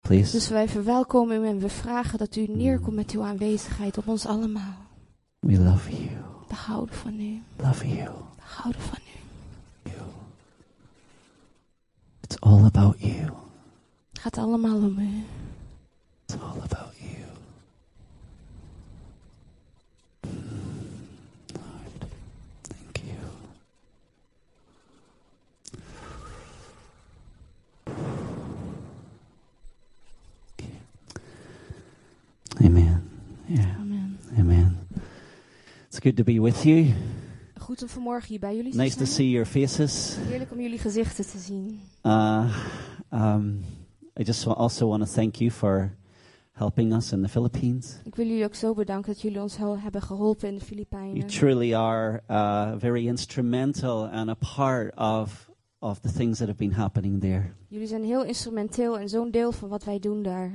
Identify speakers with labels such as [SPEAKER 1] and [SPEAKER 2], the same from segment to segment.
[SPEAKER 1] Dus
[SPEAKER 2] please.
[SPEAKER 1] wij verwelkomen u en we vragen dat u neerkomt met uw aanwezigheid op ons allemaal.
[SPEAKER 2] We love you.
[SPEAKER 1] We houden van u.
[SPEAKER 2] Love you.
[SPEAKER 1] We houden van u.
[SPEAKER 2] It's all about you.
[SPEAKER 1] Het gaat allemaal om u.
[SPEAKER 2] It's all about you. Lord, thank you. Okay. Amen. Yeah.
[SPEAKER 1] Amen.
[SPEAKER 2] Amen. It's good to be with you.
[SPEAKER 1] Goed om vanmorgen hier bij jullie te
[SPEAKER 2] Nice to
[SPEAKER 1] zijn.
[SPEAKER 2] see your faces.
[SPEAKER 1] Heerlijk om jullie gezichten te zien.
[SPEAKER 2] Uh, um, I just wa- also want to thank you for helping us in the Philippines.
[SPEAKER 1] Ik wil jullie ook zo bedanken dat jullie ons hel- hebben geholpen in de
[SPEAKER 2] You
[SPEAKER 1] Filipijnen.
[SPEAKER 2] truly are uh, very instrumental and a part of of the things that have been happening there.
[SPEAKER 1] Jullie zijn heel instrumenteel en zo'n deel van wat wij doen daar.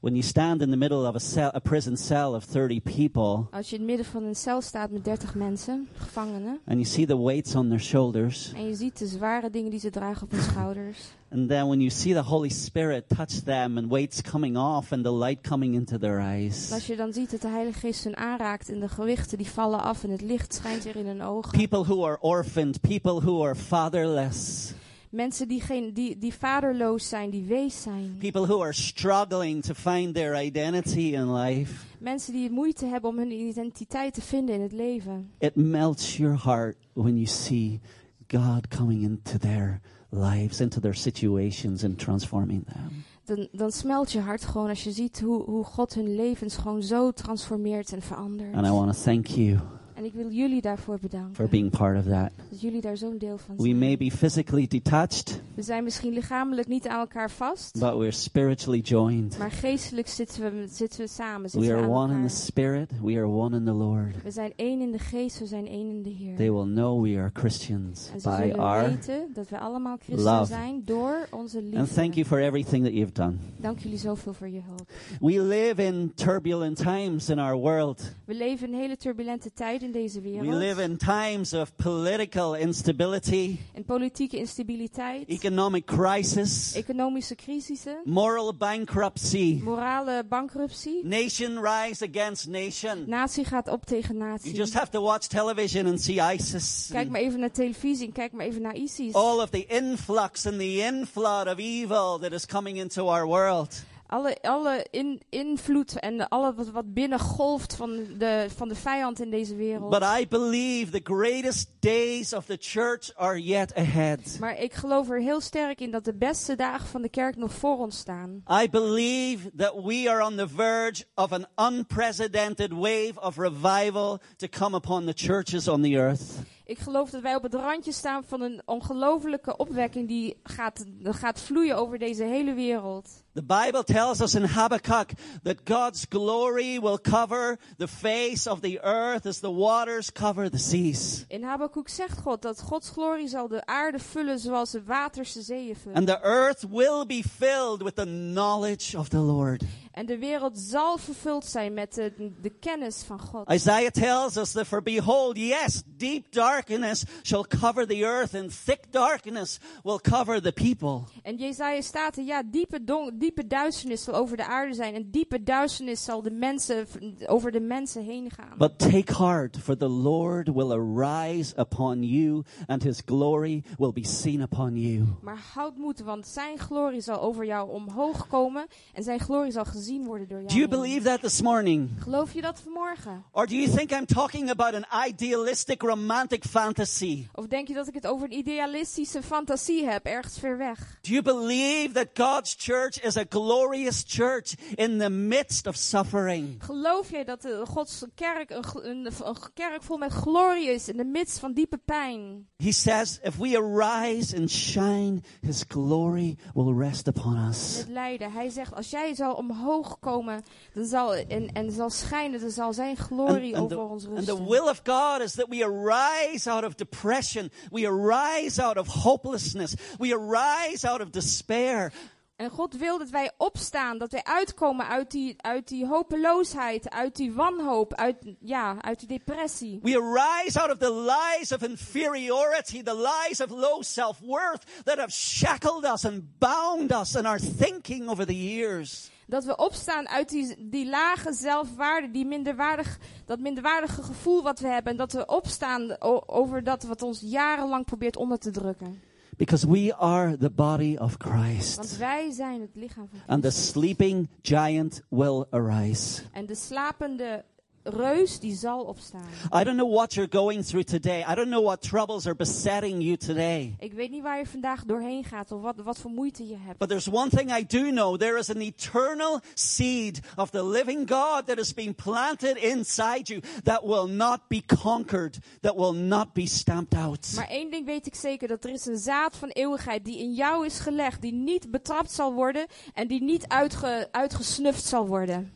[SPEAKER 2] When you stand in the middle of a cell, a prison cell of 30 people,
[SPEAKER 1] Als je in het midden van een cel staat met 30 mensen, gevangenen,
[SPEAKER 2] and you see the weights on their shoulders,
[SPEAKER 1] en je ziet de zware dingen die ze dragen op hun schouders.
[SPEAKER 2] and then when you see the Holy Spirit touch them and weights coming off and the light coming into their
[SPEAKER 1] En als
[SPEAKER 2] eyes,
[SPEAKER 1] je dan ziet dat de Heilige Geest hun aanraakt en de gewichten die vallen af en het licht schijnt weer in hun ogen.
[SPEAKER 2] people who are orphaned, people who are fatherless,
[SPEAKER 1] Mensen die, geen, die, die vaderloos zijn, die wees zijn.
[SPEAKER 2] people who are struggling to find their identity in life,
[SPEAKER 1] Mensen die moeite hebben om hun identiteit te vinden in het leven.
[SPEAKER 2] it melts your heart when you see God coming into their lives, into their situations, and transforming them.
[SPEAKER 1] Dan, dan smelt je hart gewoon als je ziet hoe, hoe God hun levens gewoon zo transformeert en verandert.
[SPEAKER 2] And I want to thank you
[SPEAKER 1] En ik wil jullie daarvoor
[SPEAKER 2] for
[SPEAKER 1] bedanken.
[SPEAKER 2] being part of that.
[SPEAKER 1] Dat jullie daar zo'n deel van
[SPEAKER 2] We
[SPEAKER 1] zijn.
[SPEAKER 2] may be physically detached,
[SPEAKER 1] We zijn misschien lichamelijk niet aan elkaar vast.
[SPEAKER 2] but we're spiritually joined.
[SPEAKER 1] Maar geestelijk zitten we, zitten we samen.
[SPEAKER 2] We
[SPEAKER 1] Zitten we
[SPEAKER 2] are
[SPEAKER 1] aan
[SPEAKER 2] one in the
[SPEAKER 1] elkaar.
[SPEAKER 2] Spirit, we are one in the Lord.
[SPEAKER 1] We zijn één in de geest, we zijn één in de Heer.
[SPEAKER 2] They will know we are Christians
[SPEAKER 1] En ze
[SPEAKER 2] by
[SPEAKER 1] zullen
[SPEAKER 2] our.
[SPEAKER 1] weten dat we allemaal christen
[SPEAKER 2] love.
[SPEAKER 1] zijn door onze liefde.
[SPEAKER 2] And thank you for everything that you've done.
[SPEAKER 1] Dank jullie zoveel voor je hulp.
[SPEAKER 2] We live in turbulent times in our world.
[SPEAKER 1] We leven in hele turbulente tijden in deze
[SPEAKER 2] We live
[SPEAKER 1] wereld.
[SPEAKER 2] in times of political instability,
[SPEAKER 1] In politieke instabiliteit,
[SPEAKER 2] economic crisis,
[SPEAKER 1] economische crisissen,
[SPEAKER 2] moral bankruptcy,
[SPEAKER 1] morale bankruptie.
[SPEAKER 2] nation rise against nation.
[SPEAKER 1] Natie gaat op tegen
[SPEAKER 2] You
[SPEAKER 1] natie.
[SPEAKER 2] just have to watch television and see ISIS.
[SPEAKER 1] Kijk
[SPEAKER 2] and
[SPEAKER 1] maar even naar televisie en kijk maar even naar ISIS.
[SPEAKER 2] all of the influx and the inflood of evil that is coming into our world.
[SPEAKER 1] Alle, alle in, invloed en alle wat, wat binnengolft van de, van de vijand in deze wereld.
[SPEAKER 2] But I believe the greatest days of the church are yet ahead.
[SPEAKER 1] Maar ik geloof er heel sterk in dat de beste dagen van de kerk nog voor ons staan.
[SPEAKER 2] I believe that we are on the verge of an unprecedented wave of revival to come upon the churches on the earth.
[SPEAKER 1] Ik geloof dat wij op het randje staan van een ongelofelijke opwekking die gaat, gaat vloeien over deze hele wereld.
[SPEAKER 2] The Bible tells us in Habakkuk that God's glory will cover the face of the earth as the waters cover the seas.
[SPEAKER 1] In Habakkuk zegt God dat Gods glorie zal de aarde vullen zoals de waters de zeeën vullen.
[SPEAKER 2] And the earth will be filled with the knowledge of the Lord.
[SPEAKER 1] En de wereld zal vervuld zijn met de, de kennis van God.
[SPEAKER 2] Isaiah tells us that for behold, yes, deep darkness shall cover the earth and thick darkness will cover the people.
[SPEAKER 1] En Jezaja staat er, ja, diepe, don- diepe duisternis zal over de aarde zijn. En diepe duisternis zal de mensen, v- over de mensen heen gaan.
[SPEAKER 2] But take heart, for the Lord will arise upon you, and his glory will be seen upon you.
[SPEAKER 1] Maar houd moed, want zijn glorie zal over jou omhoog komen. En zijn glorie zal gezien worden door jou.
[SPEAKER 2] Do you
[SPEAKER 1] heen.
[SPEAKER 2] believe that this morning?
[SPEAKER 1] Geloof je dat vanmorgen?
[SPEAKER 2] Or do you think I'm talking about an idealistic romantic fantasy?
[SPEAKER 1] Of denk je dat ik het over een idealistische fantasie heb, ergens ver weg?
[SPEAKER 2] Do you believe that God's church is a glorious church in the midst of suffering?
[SPEAKER 1] Geloof jij dat de Gods kerk een, gl- een, een kerk vol met glorie is in de midst van diepe pijn?
[SPEAKER 2] He says, if we arise and shine, his glory will rest upon us.
[SPEAKER 1] Het lijden. Hij zegt, als jij zal omhoog komen dan zal, en, en zal schijnen, dan zal zijn glorie
[SPEAKER 2] and,
[SPEAKER 1] over
[SPEAKER 2] the,
[SPEAKER 1] ons
[SPEAKER 2] and the
[SPEAKER 1] rusten.
[SPEAKER 2] will of God is that we arise out of depression. We arise out of hopelessness. We arise out of despair.
[SPEAKER 1] En God wil dat wij opstaan, dat wij uitkomen uit die, uit die hopeloosheid, uit die wanhoop, uit, ja, uit die depressie.
[SPEAKER 2] We arise out of the lies of inferiority, the lies of low self worth that have shackled us and bound us in our thinking over the years.
[SPEAKER 1] Dat we opstaan uit die, die lage zelfwaarde, die minderwaardig, dat minderwaardige gevoel wat we hebben. En dat we opstaan o- over dat wat ons jarenlang probeert onder te drukken.
[SPEAKER 2] Because we are the body of
[SPEAKER 1] Want
[SPEAKER 2] Christ.
[SPEAKER 1] wij zijn het lichaam van
[SPEAKER 2] And the
[SPEAKER 1] Christus.
[SPEAKER 2] sleeping giant will arise.
[SPEAKER 1] En de slapende reus die zal opstaan.
[SPEAKER 2] I don't know what you're going through today. I don't know what troubles are besetting you today.
[SPEAKER 1] Ik weet niet waar je vandaag doorheen gaat of wat, wat voor moeite je hebt.
[SPEAKER 2] But there's one thing I do know there is an eternal seed of the living God that has been planted inside you that will not be conquered, that will not be stamped out.
[SPEAKER 1] Maar één ding weet ik zeker, dat er is een zaad van eeuwigheid die in jou is gelegd, die niet betrapt zal worden en die niet uitge, uitgesnuft zal worden.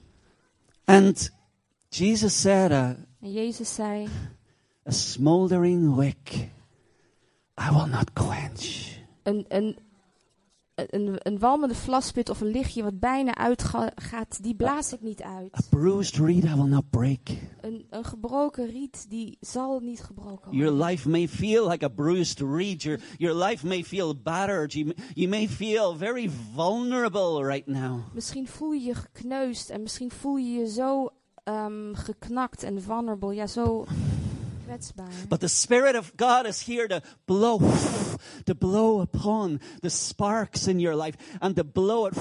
[SPEAKER 2] And Jesus said, a,
[SPEAKER 1] En Jezus zei,
[SPEAKER 2] a smoldering wick I will not quench.
[SPEAKER 1] een, een, een, een walmende vlaspit of een lichtje wat bijna uitgaat, die blaas ik niet
[SPEAKER 2] A
[SPEAKER 1] uit.
[SPEAKER 2] bruised reed I will not break.
[SPEAKER 1] Een, een gebroken riet, die zal niet gebroken
[SPEAKER 2] Your
[SPEAKER 1] worden.
[SPEAKER 2] life may feel like a bruised reed. Your, your life may feel battered. You, m- you may feel very vulnerable right now.
[SPEAKER 1] Misschien voel je je gekneusd en misschien voel je je zo ehm, geknakt en vulnerable, ja zo kwetsbaar.
[SPEAKER 2] But the Spirit of God is here to blow, to blow upon the sparks in your life and to blow it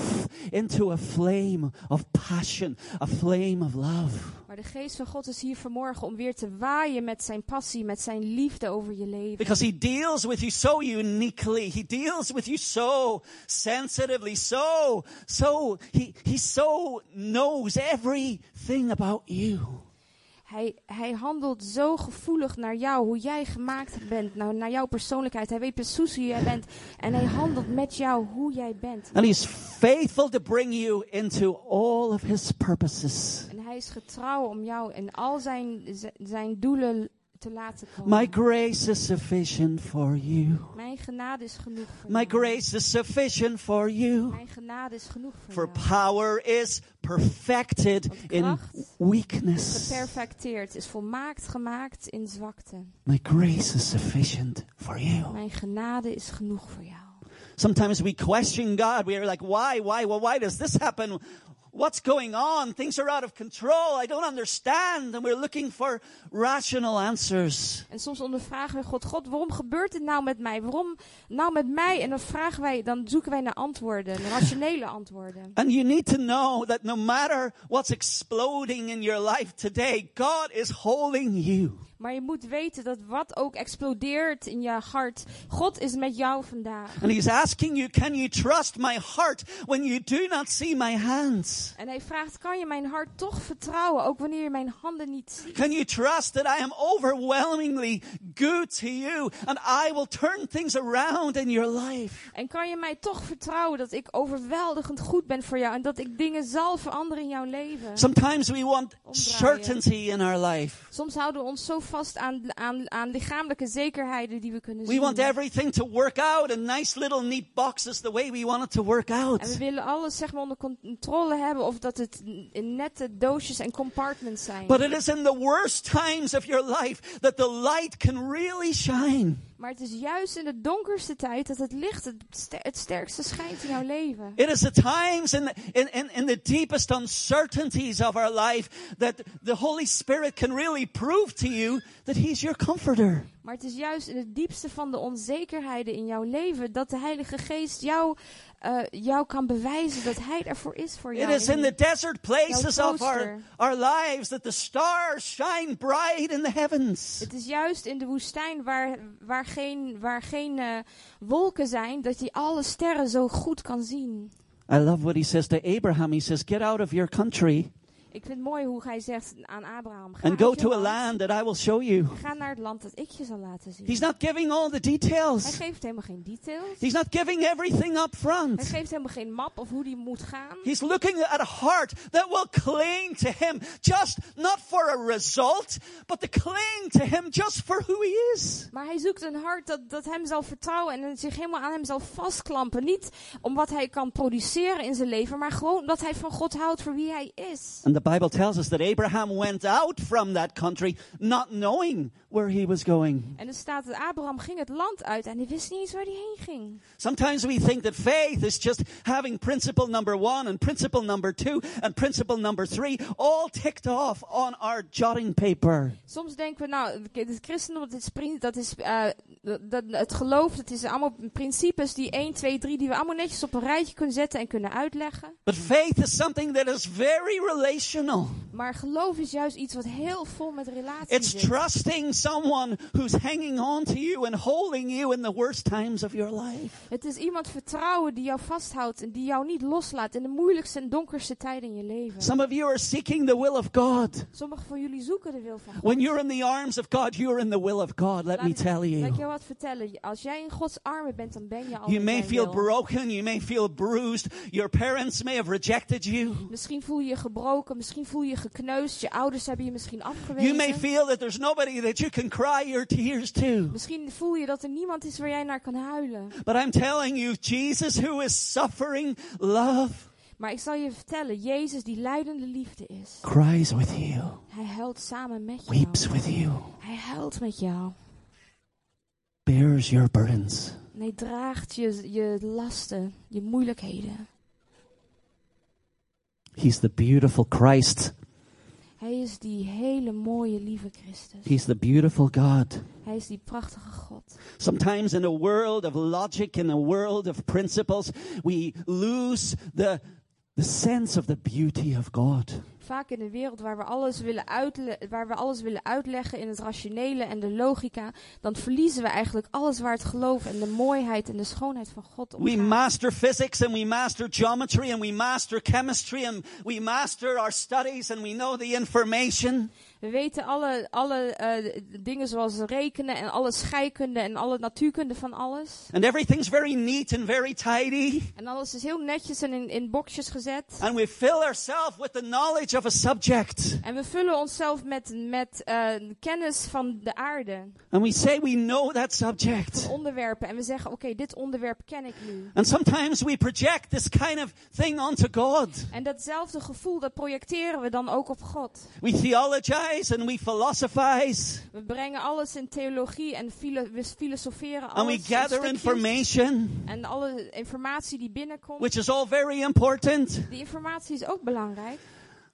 [SPEAKER 2] into a flame of passion, a flame of love.
[SPEAKER 1] Maar de geest van God is hier vanmorgen om weer te waaien met zijn passie, met zijn liefde over je leven.
[SPEAKER 2] Because He deals with you so uniquely. He deals with you so sensitively, so, so, He, he so knows everything about you.
[SPEAKER 1] Hij, hij handelt zo gevoelig naar jou, hoe jij gemaakt bent, nou, naar jouw persoonlijkheid. Hij weet precies wie jij bent en hij handelt met jou hoe jij bent.
[SPEAKER 2] And he's faithful to bring you into all of his purposes.
[SPEAKER 1] En hij is getrouw om jou en al zijn, z- zijn doelen te laten komen.
[SPEAKER 2] My grace is sufficient for you.
[SPEAKER 1] Mijn genade is genoeg voor
[SPEAKER 2] My
[SPEAKER 1] jou.
[SPEAKER 2] grace is sufficient for you.
[SPEAKER 1] Mijn genade is genoeg voor
[SPEAKER 2] For
[SPEAKER 1] jou.
[SPEAKER 2] power is perfected in weakness.
[SPEAKER 1] Geperfecteerd, is volmaakt gemaakt in zwakte.
[SPEAKER 2] My grace is sufficient for you.
[SPEAKER 1] Mijn genade is genoeg voor jou.
[SPEAKER 2] Sometimes we question God. We are like, why, why, well, why does this happen? What's going on? Things are out of control. I don't understand. And we're looking for rational answers.
[SPEAKER 1] En soms ondervragen we God, God, waarom gebeurt dit nou met mij? Waarom nou met mij? En dan vragen wij, dan zoeken wij naar antwoorden, naar rationele antwoorden.
[SPEAKER 2] And you need to know that no matter what's exploding in your life today, God is holding you.
[SPEAKER 1] Maar je moet weten dat wat ook explodeert in je hart, God is met jou vandaag.
[SPEAKER 2] And He's asking you, can you trust my heart when you do not see my hands?
[SPEAKER 1] En hij vraagt, kan je mijn hart toch vertrouwen, ook wanneer je mijn handen niet ziet?
[SPEAKER 2] Can you trust that I am overwhelmingly good to you and I will turn things around in your life?
[SPEAKER 1] En kan je mij toch vertrouwen dat ik overweldigend goed ben voor jou en dat ik dingen zal veranderen in jouw leven?
[SPEAKER 2] Sometimes we want
[SPEAKER 1] Omdraaien.
[SPEAKER 2] certainty in our life.
[SPEAKER 1] Soms houden we ons zo vast aan, aan, aan lichamelijke zekerheden die we kunnen
[SPEAKER 2] We
[SPEAKER 1] zien.
[SPEAKER 2] want everything to work out in nice little neat boxes the way we want it to work out.
[SPEAKER 1] En we willen alles zeg maar onder controle hebben of dat het in nette doosjes en compartments zijn.
[SPEAKER 2] But it is in the worst times of your life that the light can really shine.
[SPEAKER 1] maar het is juist in de donkerste tijd dat het licht het, ster- het sterkste schijnt in jouw leven.
[SPEAKER 2] It is the times in the, in, in, in the deepest uncertainties of our life that the Holy Spirit can really prove to you that He's your comforter.
[SPEAKER 1] Maar het is juist in het diepste van de onzekerheden in jouw leven dat de Heilige Geest jou, eh, jou kan bewijzen dat Hij ervoor is voor jou.
[SPEAKER 2] It is in the desert places of our,
[SPEAKER 1] trooster.
[SPEAKER 2] our lives that the stars shine bright in the heavens.
[SPEAKER 1] Het is juist in de woestijn waar, waar geen, waar geen eh, wolken zijn, dat je alle sterren zo goed kan zien.
[SPEAKER 2] I love what He says to Abraham. He says, Get out of your country
[SPEAKER 1] Ik vind het mooi hoe hij zegt aan Abraham: ga,
[SPEAKER 2] and go
[SPEAKER 1] uit je
[SPEAKER 2] to a
[SPEAKER 1] land.
[SPEAKER 2] land that I will show you.
[SPEAKER 1] ga naar het land dat ik je zal laten zien.
[SPEAKER 2] He's not giving all the
[SPEAKER 1] Hij
[SPEAKER 2] details.
[SPEAKER 1] geeft helemaal geen details.
[SPEAKER 2] He's not giving everything up
[SPEAKER 1] Hij
[SPEAKER 2] front.
[SPEAKER 1] geeft helemaal geen map of hoe die moet gaan.
[SPEAKER 2] He's looking at a heart that will cling to him, just not for a result, but to cling to him just for who he is.
[SPEAKER 1] Maar hij zoekt een hart dat, dat hem zal vertrouwen en zich helemaal aan hem zal vastklampen. Niet om wat hij kan produceren in zijn leven, maar gewoon dat hij van God houdt voor wie hij is.
[SPEAKER 2] And the Bible tells us that Abraham went out from that country not knowing where he was going.
[SPEAKER 1] En er staat dat Abraham ging het land uit en hij wist niet eens waar hij heen ging.
[SPEAKER 2] Sometimes we think that faith is just having principle number one and principle number two and principle number three all ticked off on our jotting paper.
[SPEAKER 1] Soms denken we, nou, het christendom, dat is, prin- dat is eh, dat, dat- het geloof, dat is allemaal principes die 1, 2, 3, die we allemaal netjes op een rijtje kunnen zetten en kunnen uitleggen.
[SPEAKER 2] But faith is something that is very relational.
[SPEAKER 1] Maar geloof is juist iets wat heel vol met relatie
[SPEAKER 2] It's
[SPEAKER 1] zit.
[SPEAKER 2] trusting someone who's hanging on to you and holding you in the worst times of your life.
[SPEAKER 1] Het is iemand vertrouwen die jou vasthoudt en die jou niet loslaat in de moeilijkste en donkerste tijden in je leven.
[SPEAKER 2] Some of you are seeking the will of God.
[SPEAKER 1] Sommigen van jullie zoeken de wil van God.
[SPEAKER 2] When you're in the arms of God, you're in the will of God, let
[SPEAKER 1] Laat
[SPEAKER 2] me
[SPEAKER 1] ik-
[SPEAKER 2] tell
[SPEAKER 1] Laat ik
[SPEAKER 2] you.
[SPEAKER 1] jou wat vertellen. Als jij in Gods armen bent, dan ben je al
[SPEAKER 2] You
[SPEAKER 1] in
[SPEAKER 2] may
[SPEAKER 1] zijn
[SPEAKER 2] feel
[SPEAKER 1] wil.
[SPEAKER 2] broken, you may feel bruised, your parents may have rejected you.
[SPEAKER 1] Misschien voel je je gebroken, misschien voel je je gekneusd, je ouders hebben je misschien
[SPEAKER 2] You
[SPEAKER 1] afgewezen.
[SPEAKER 2] may feel that there's nobody that you can cry your tears to.
[SPEAKER 1] Misschien voel je dat er niemand is waar jij naar kan huilen.
[SPEAKER 2] But I'm telling you, Jesus, who is suffering love,
[SPEAKER 1] Maar ik zal je vertellen, Jezus die leidende liefde is.
[SPEAKER 2] cries with you,
[SPEAKER 1] Hij huilt samen met jou.
[SPEAKER 2] weeps with you,
[SPEAKER 1] Hij huilt met jou.
[SPEAKER 2] bears your burdens.
[SPEAKER 1] En hij draagt je, je lasten, je moeilijkheden.
[SPEAKER 2] He's the beautiful Christ.
[SPEAKER 1] Hij is die hele mooie, lieve Christus.
[SPEAKER 2] He's the beautiful God.
[SPEAKER 1] Hij is die prachtige God.
[SPEAKER 2] Sometimes in a world of logic, in a world of principles, we lose the, the sense of the beauty of God.
[SPEAKER 1] Vaak in een wereld waar we, alles willen uitle- waar we alles willen uitleggen in het rationele en de logica, dan verliezen we eigenlijk alles waar het geloof en de mooiheid en de schoonheid van God om
[SPEAKER 2] We
[SPEAKER 1] gaat.
[SPEAKER 2] master physics and we master geometry and we master chemistry and we master our studies and we know the information.
[SPEAKER 1] We weten alle, alle eh, dingen zoals rekenen en alle scheikunde en alle natuurkunde van alles.
[SPEAKER 2] And everything's very neat and very tidy.
[SPEAKER 1] En alles is heel netjes en in, in boxjes gezet.
[SPEAKER 2] And we fill ourselves with the knowledge of a subject.
[SPEAKER 1] En we vullen onszelf met, met eh, kennis van de aarde,
[SPEAKER 2] And we say we know that
[SPEAKER 1] van
[SPEAKER 2] subject.
[SPEAKER 1] onderwerpen. En we zeggen, oké, dit onderwerp ken ik nu.
[SPEAKER 2] And sometimes we project this kind of thing onto God.
[SPEAKER 1] En datzelfde gevoel, dat projecteren we dan ook op God.
[SPEAKER 2] We theologize and we philosophize
[SPEAKER 1] We brengen alles in theologie en filo- we filosoferen
[SPEAKER 2] and we
[SPEAKER 1] alles. in
[SPEAKER 2] gather
[SPEAKER 1] stukjes.
[SPEAKER 2] information,
[SPEAKER 1] En alle informatie die binnenkomt.
[SPEAKER 2] which is all very important.
[SPEAKER 1] die informatie is ook belangrijk.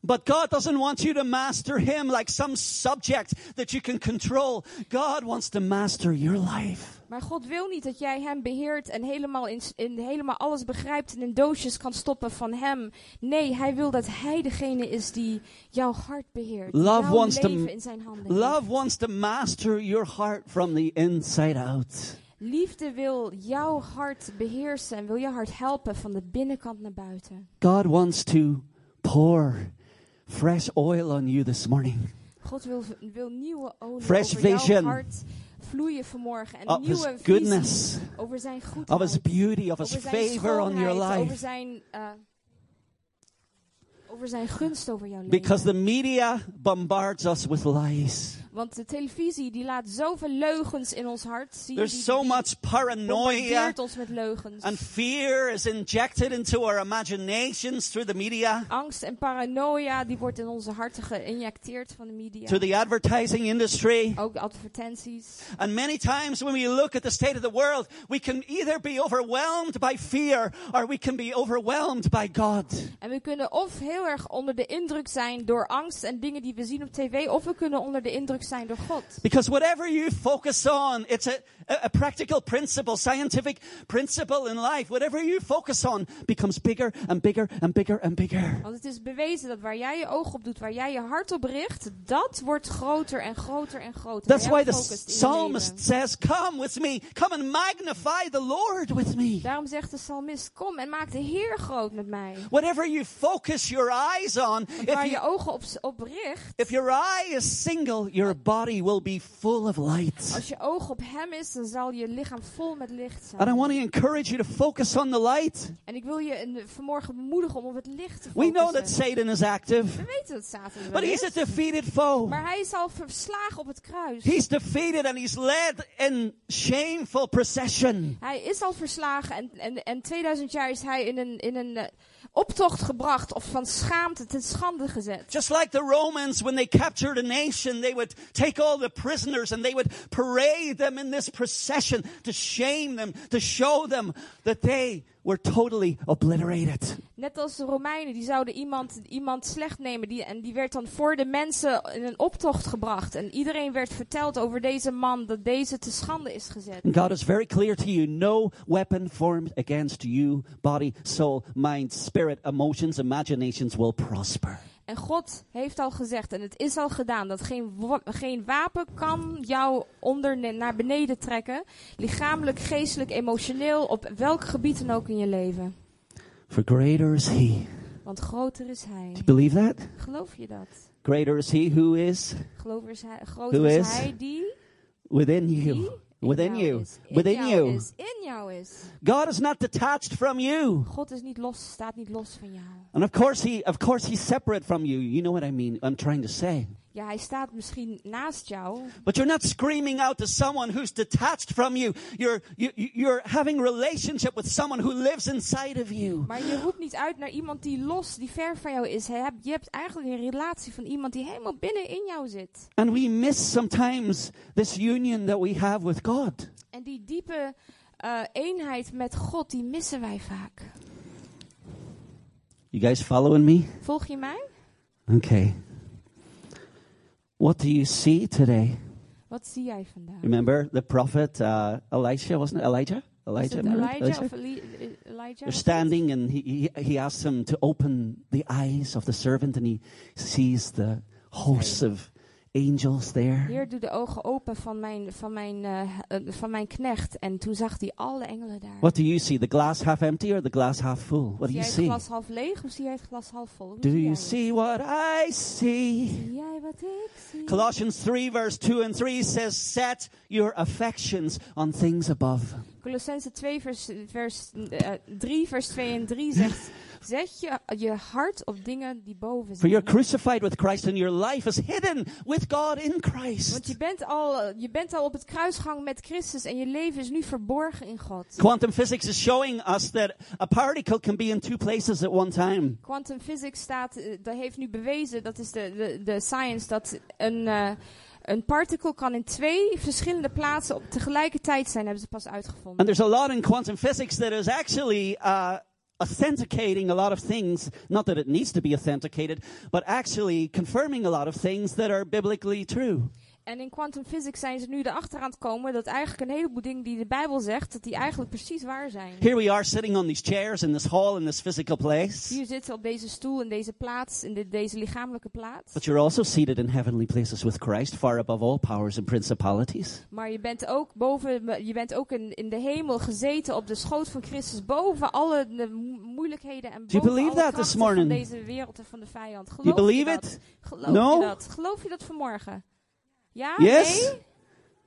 [SPEAKER 2] But God doesn't want you to master Him like some subject that you can control. God wants to master your life.
[SPEAKER 1] Maar God wil niet dat jij hem beheert en helemaal, in, in, helemaal alles begrijpt en in doosjes kan stoppen van hem. Nee, hij wil dat hij degene is die jouw hart beheert. die
[SPEAKER 2] Love
[SPEAKER 1] jouw
[SPEAKER 2] wants to-
[SPEAKER 1] leven in zijn handen. heeft.
[SPEAKER 2] Love wants to master your heart from the inside out.
[SPEAKER 1] Liefde wil jouw hart beheersen en wil je hart helpen van de binnenkant naar buiten.
[SPEAKER 2] God wants to pour fresh oil on you this morning.
[SPEAKER 1] God wil, wil nieuwe olie
[SPEAKER 2] Fresh
[SPEAKER 1] over
[SPEAKER 2] vision.
[SPEAKER 1] jouw hart vloeien vanmorgen. En
[SPEAKER 2] Of His
[SPEAKER 1] nieuwe visie
[SPEAKER 2] goodness,
[SPEAKER 1] over zijn goedheid,
[SPEAKER 2] of His beauty, of His
[SPEAKER 1] over zijn
[SPEAKER 2] favor on your
[SPEAKER 1] schoonheid, over
[SPEAKER 2] life.
[SPEAKER 1] zijn, eh, over zijn gunst over jouw leven.
[SPEAKER 2] Because the media bombards us with lies.
[SPEAKER 1] Want de televisie die laat zoveel leugens in ons hart zien. die,
[SPEAKER 2] There's so
[SPEAKER 1] die
[SPEAKER 2] much paranoia
[SPEAKER 1] bombardeert ons met leugens.
[SPEAKER 2] and fear is injected into our imaginations through the media,
[SPEAKER 1] Angst en paranoia die wordt in onze harten geïnjecteerd van de media.
[SPEAKER 2] to the advertising industry.
[SPEAKER 1] Ook de advertenties.
[SPEAKER 2] And many times when we look at the state of the world, we can either be overwhelmed by fear or we can be overwhelmed by God.
[SPEAKER 1] En we kunnen of heel erg onder de indruk zijn door angst en dingen die we zien op tv. Of we kunnen onder de indruk benadrukt zijn door God.
[SPEAKER 2] Because whatever you focus on, it's a, a, a practical principle, scientific principle in life. Whatever you focus on becomes bigger and bigger and bigger and bigger.
[SPEAKER 1] Want het is bewezen dat waar jij je oog op doet, waar jij je hart op richt, dat wordt groter en groter en groter.
[SPEAKER 2] That's
[SPEAKER 1] Waar
[SPEAKER 2] why
[SPEAKER 1] jij
[SPEAKER 2] the
[SPEAKER 1] focust in je
[SPEAKER 2] psalmist
[SPEAKER 1] leven.
[SPEAKER 2] says, Come with me, come and magnify the Lord with me.
[SPEAKER 1] Daarom zegt de psalmist, kom en maak de Heer groot met mij.
[SPEAKER 2] Whatever you focus your eyes on,
[SPEAKER 1] Waar
[SPEAKER 2] if, you,
[SPEAKER 1] je ogen op, op richt,
[SPEAKER 2] if your eye is single, your body will be full of light.
[SPEAKER 1] als je oog op hem is, dan zal je lichaam vol met licht zijn.
[SPEAKER 2] And I want to encourage you to focus on the light.
[SPEAKER 1] En ik wil je een- vanmorgen bemoedigen om op het licht te
[SPEAKER 2] We
[SPEAKER 1] focussen.
[SPEAKER 2] know that Satan is active,
[SPEAKER 1] We weten dat Satan er wel
[SPEAKER 2] but he's
[SPEAKER 1] is.
[SPEAKER 2] a defeated foe.
[SPEAKER 1] Maar hij is al verslagen op het kruis.
[SPEAKER 2] He's defeated and he's led in shameful procession.
[SPEAKER 1] Hij is al verslagen en, en, en 2000 jaar is hij in een, in een eh, optocht gebracht of van schaamte ten schande gezet.
[SPEAKER 2] Just like the Romans, when they captured a nation, they would take all the prisoners and they would parade them in this procession to shame them, to show them that they were totally obliterated.
[SPEAKER 1] Net als de Romeinen, die zouden iemand, iemand slecht nemen die, en die werd dan voor de mensen in een optocht gebracht. En iedereen werd verteld over deze man dat deze te schande is gezet.
[SPEAKER 2] And God is very clear to you no weapon formed against you, body, soul, mind, spirit, emotions, imaginations will prosper.
[SPEAKER 1] En God heeft al gezegd, en het is al gedaan, dat geen, wa- geen wapen kan jou onder naar beneden trekken. Lichamelijk, geestelijk, emotioneel, op welk gebied dan ook in je leven.
[SPEAKER 2] For greater is He.
[SPEAKER 1] Want groter is Hij.
[SPEAKER 2] Do you believe that?
[SPEAKER 1] Geloof je dat?
[SPEAKER 2] Greater is He who is
[SPEAKER 1] Geloof is hij, groter
[SPEAKER 2] Who
[SPEAKER 1] is,
[SPEAKER 2] is?
[SPEAKER 1] Hij die
[SPEAKER 2] within
[SPEAKER 1] Die?
[SPEAKER 2] you. Within
[SPEAKER 1] in jou
[SPEAKER 2] you.
[SPEAKER 1] is, in
[SPEAKER 2] Within
[SPEAKER 1] jou
[SPEAKER 2] you.
[SPEAKER 1] is, in jou is.
[SPEAKER 2] God is not detached from you.
[SPEAKER 1] God is niet los, staat niet los van jou.
[SPEAKER 2] And of course he of course he's separate from you. You know what I mean? I'm trying to say.
[SPEAKER 1] Ja, hij staat misschien naast jou,
[SPEAKER 2] But you're not screaming out to someone who's detached from you. You're you, you- you're having relationship with someone who lives inside of you.
[SPEAKER 1] maar je roept niet uit naar iemand die los, die ver van jou is. Je hebt, je hebt eigenlijk een relatie van iemand die helemaal binnen in jou zit.
[SPEAKER 2] And we miss sometimes this union that we have with God.
[SPEAKER 1] En die diepe eh, eenheid met God, die missen wij vaak.
[SPEAKER 2] You guys following me?
[SPEAKER 1] Volg je mij?
[SPEAKER 2] Okay. What do you see today?
[SPEAKER 1] Wat zie jij vandaag?
[SPEAKER 2] Remember the prophet uh, Elisha, wasn't it Elijah?
[SPEAKER 1] Is
[SPEAKER 2] Elijah,
[SPEAKER 1] het
[SPEAKER 2] remember?
[SPEAKER 1] Elijah of Eli- eh, Elijah?
[SPEAKER 2] They're standing, and he, he, he asks him to open the eyes of the servant, and he sees the hosts of angels there.
[SPEAKER 1] Heer, doe de ogen open van mijn, van, mijn, eh, eh, van mijn knecht. En toen zag hij alle engelen daar.
[SPEAKER 2] What do you see? The glass half empty or the glass half full? What do
[SPEAKER 1] zie
[SPEAKER 2] you
[SPEAKER 1] jij het
[SPEAKER 2] see?
[SPEAKER 1] glas half leeg of zie jij het glas half vol? Hoe
[SPEAKER 2] Do
[SPEAKER 1] zie jij
[SPEAKER 2] you
[SPEAKER 1] het?
[SPEAKER 2] see what I see?
[SPEAKER 1] Zie jij wat ik zie?
[SPEAKER 2] Colossians 3, verse 2 and 3 says, Set your affections on things above.
[SPEAKER 1] Colossense 2 vers, vers, eh, 3 vers 2 en 3 zegt... Zet je, je hart op dingen die boven
[SPEAKER 2] For
[SPEAKER 1] zijn.
[SPEAKER 2] you're crucified with Christ, and your life is hidden with God in
[SPEAKER 1] Want
[SPEAKER 2] Christ.
[SPEAKER 1] je bent, al, eh, je bent al op het kruisgang met Christus en je leven is nu verborgen in God.
[SPEAKER 2] Quantum physics is showing us that a particle can be in two places at one time.
[SPEAKER 1] Quantum physics staat, eh, dat heeft nu bewezen, dat is de, de, de science, dat een, eh een particle kan in twee verschillende plaatsen op tegelijkertijd zijn, hebben ze pas uitgevonden.
[SPEAKER 2] And there's a lot in quantum physics that is actually uh, authenticating a lot of things. Not that it needs to be authenticated, but actually confirming a lot of things that are biblically true.
[SPEAKER 1] En in quantum physics zijn ze nu erachter aan het komen dat eigenlijk een heleboel dingen die de Bijbel zegt, dat die eigenlijk precies waar zijn.
[SPEAKER 2] Here we are sitting on these chairs in this hall in this physical place,
[SPEAKER 1] Hier zitten we op deze stoel, in deze plaats, in dit- deze lichamelijke plaats.
[SPEAKER 2] but you're also seated in heavenly places with Christ, far above all powers and principalities.
[SPEAKER 1] Maar je bent ook boven, je bent ook in, in de hemel gezeten op de schoot van Christus, boven alle de mo- moeilijkheden en
[SPEAKER 2] Do you
[SPEAKER 1] boven alle
[SPEAKER 2] believe that
[SPEAKER 1] krachten
[SPEAKER 2] this
[SPEAKER 1] van
[SPEAKER 2] morning?
[SPEAKER 1] deze wereld en van de vijand. Geloof
[SPEAKER 2] you believe
[SPEAKER 1] je dat?
[SPEAKER 2] it?
[SPEAKER 1] Geloof
[SPEAKER 2] No?
[SPEAKER 1] je dat? Geloof je dat vanmorgen? Ja?
[SPEAKER 2] Yes?
[SPEAKER 1] Nee?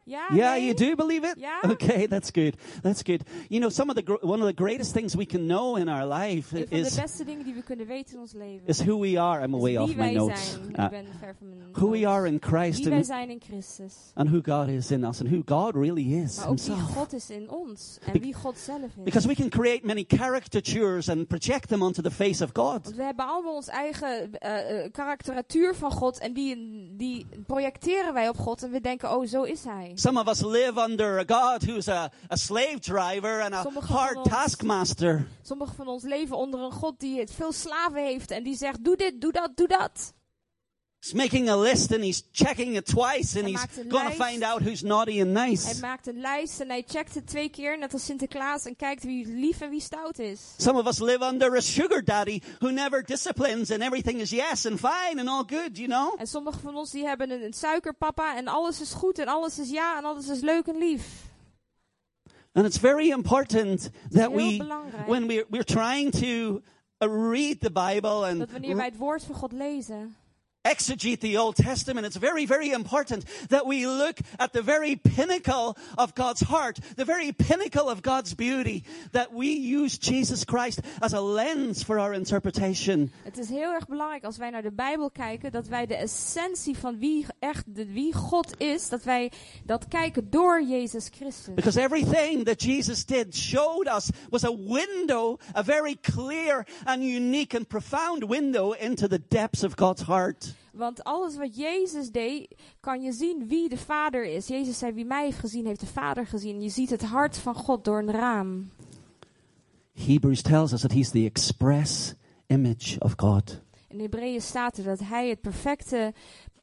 [SPEAKER 1] Ja?
[SPEAKER 2] Yeah,
[SPEAKER 1] nee?
[SPEAKER 2] you do believe it?
[SPEAKER 1] Yeah.
[SPEAKER 2] Okay, that's good. That's good. You know, some of the gr- one of the greatest things we can know in our life
[SPEAKER 1] Een van de
[SPEAKER 2] is
[SPEAKER 1] beste dingen die we kunnen weten in ons leven.
[SPEAKER 2] is who we are. I'm
[SPEAKER 1] Is
[SPEAKER 2] way
[SPEAKER 1] wie
[SPEAKER 2] off my
[SPEAKER 1] wij
[SPEAKER 2] notes.
[SPEAKER 1] zijn.
[SPEAKER 2] Uh,
[SPEAKER 1] Ik ben ver van mijn
[SPEAKER 2] who we
[SPEAKER 1] notes.
[SPEAKER 2] are in Christ
[SPEAKER 1] Wie wij
[SPEAKER 2] and,
[SPEAKER 1] zijn in Christus.
[SPEAKER 2] and who God is in us and who God really is
[SPEAKER 1] Maar ook wie
[SPEAKER 2] Himself.
[SPEAKER 1] God is in ons. En
[SPEAKER 2] Be-
[SPEAKER 1] wie God zelf is.
[SPEAKER 2] Because we can create many caricatures and project them onto the face of God.
[SPEAKER 1] Want we hebben allemaal ons eigen eh, eh, karakteratuur van God. En die, die projecteren wij op God. En we denken, oh, zo is hij.
[SPEAKER 2] Some of us live under a God who's a, a slave driver and a
[SPEAKER 1] Sommigen van
[SPEAKER 2] hard
[SPEAKER 1] ons-
[SPEAKER 2] taskmaster.
[SPEAKER 1] Sommigen van ons leven onder een God die het veel slaven heeft. En die zegt, doe dit, doe dat, doe dat.
[SPEAKER 2] He's making a list and he's checking it twice and
[SPEAKER 1] Hij
[SPEAKER 2] he's
[SPEAKER 1] maakt een
[SPEAKER 2] going to
[SPEAKER 1] lijst.
[SPEAKER 2] find out who's naughty and
[SPEAKER 1] Hij
[SPEAKER 2] nice.
[SPEAKER 1] maakt een lijst en hij checkt het twee keer, net als Sinterklaas, en kijkt wie lief en wie stout is.
[SPEAKER 2] Some of us live under a sugar daddy who never disciplines and everything is yes and fine and all good, you know?
[SPEAKER 1] En sommigen van ons die hebben een, een suikerpapa en alles is goed en alles is ja en alles is leuk en lief.
[SPEAKER 2] And it's very important that
[SPEAKER 1] Heel
[SPEAKER 2] we,
[SPEAKER 1] belangrijk.
[SPEAKER 2] when we're, we're trying to uh, read the Bible and
[SPEAKER 1] Dat wanneer wij het woord van God lezen,
[SPEAKER 2] exegete the Old Testament, it's very, very important that we look at the very pinnacle of God's heart, the very pinnacle of God's beauty, that we use Jesus Christ as a lens for our interpretation.
[SPEAKER 1] het is heel erg belangrijk als wij naar de Bijbel kijken, dat wij de essentie van wie echt de, wie God is, dat wij dat kijken door Jezus Christus.
[SPEAKER 2] Because everything that Jesus did showed us was a window, a very clear and unique and profound window into the depths of God's heart.
[SPEAKER 1] Want alles wat Jezus deed, kan je zien wie de Vader is. Jezus zei, wie mij heeft gezien, heeft de Vader gezien. Je ziet het hart van God door een raam.
[SPEAKER 2] Hebrews tells us that he's the express image of God.
[SPEAKER 1] In Hebreeën staat er dat hij het perfecte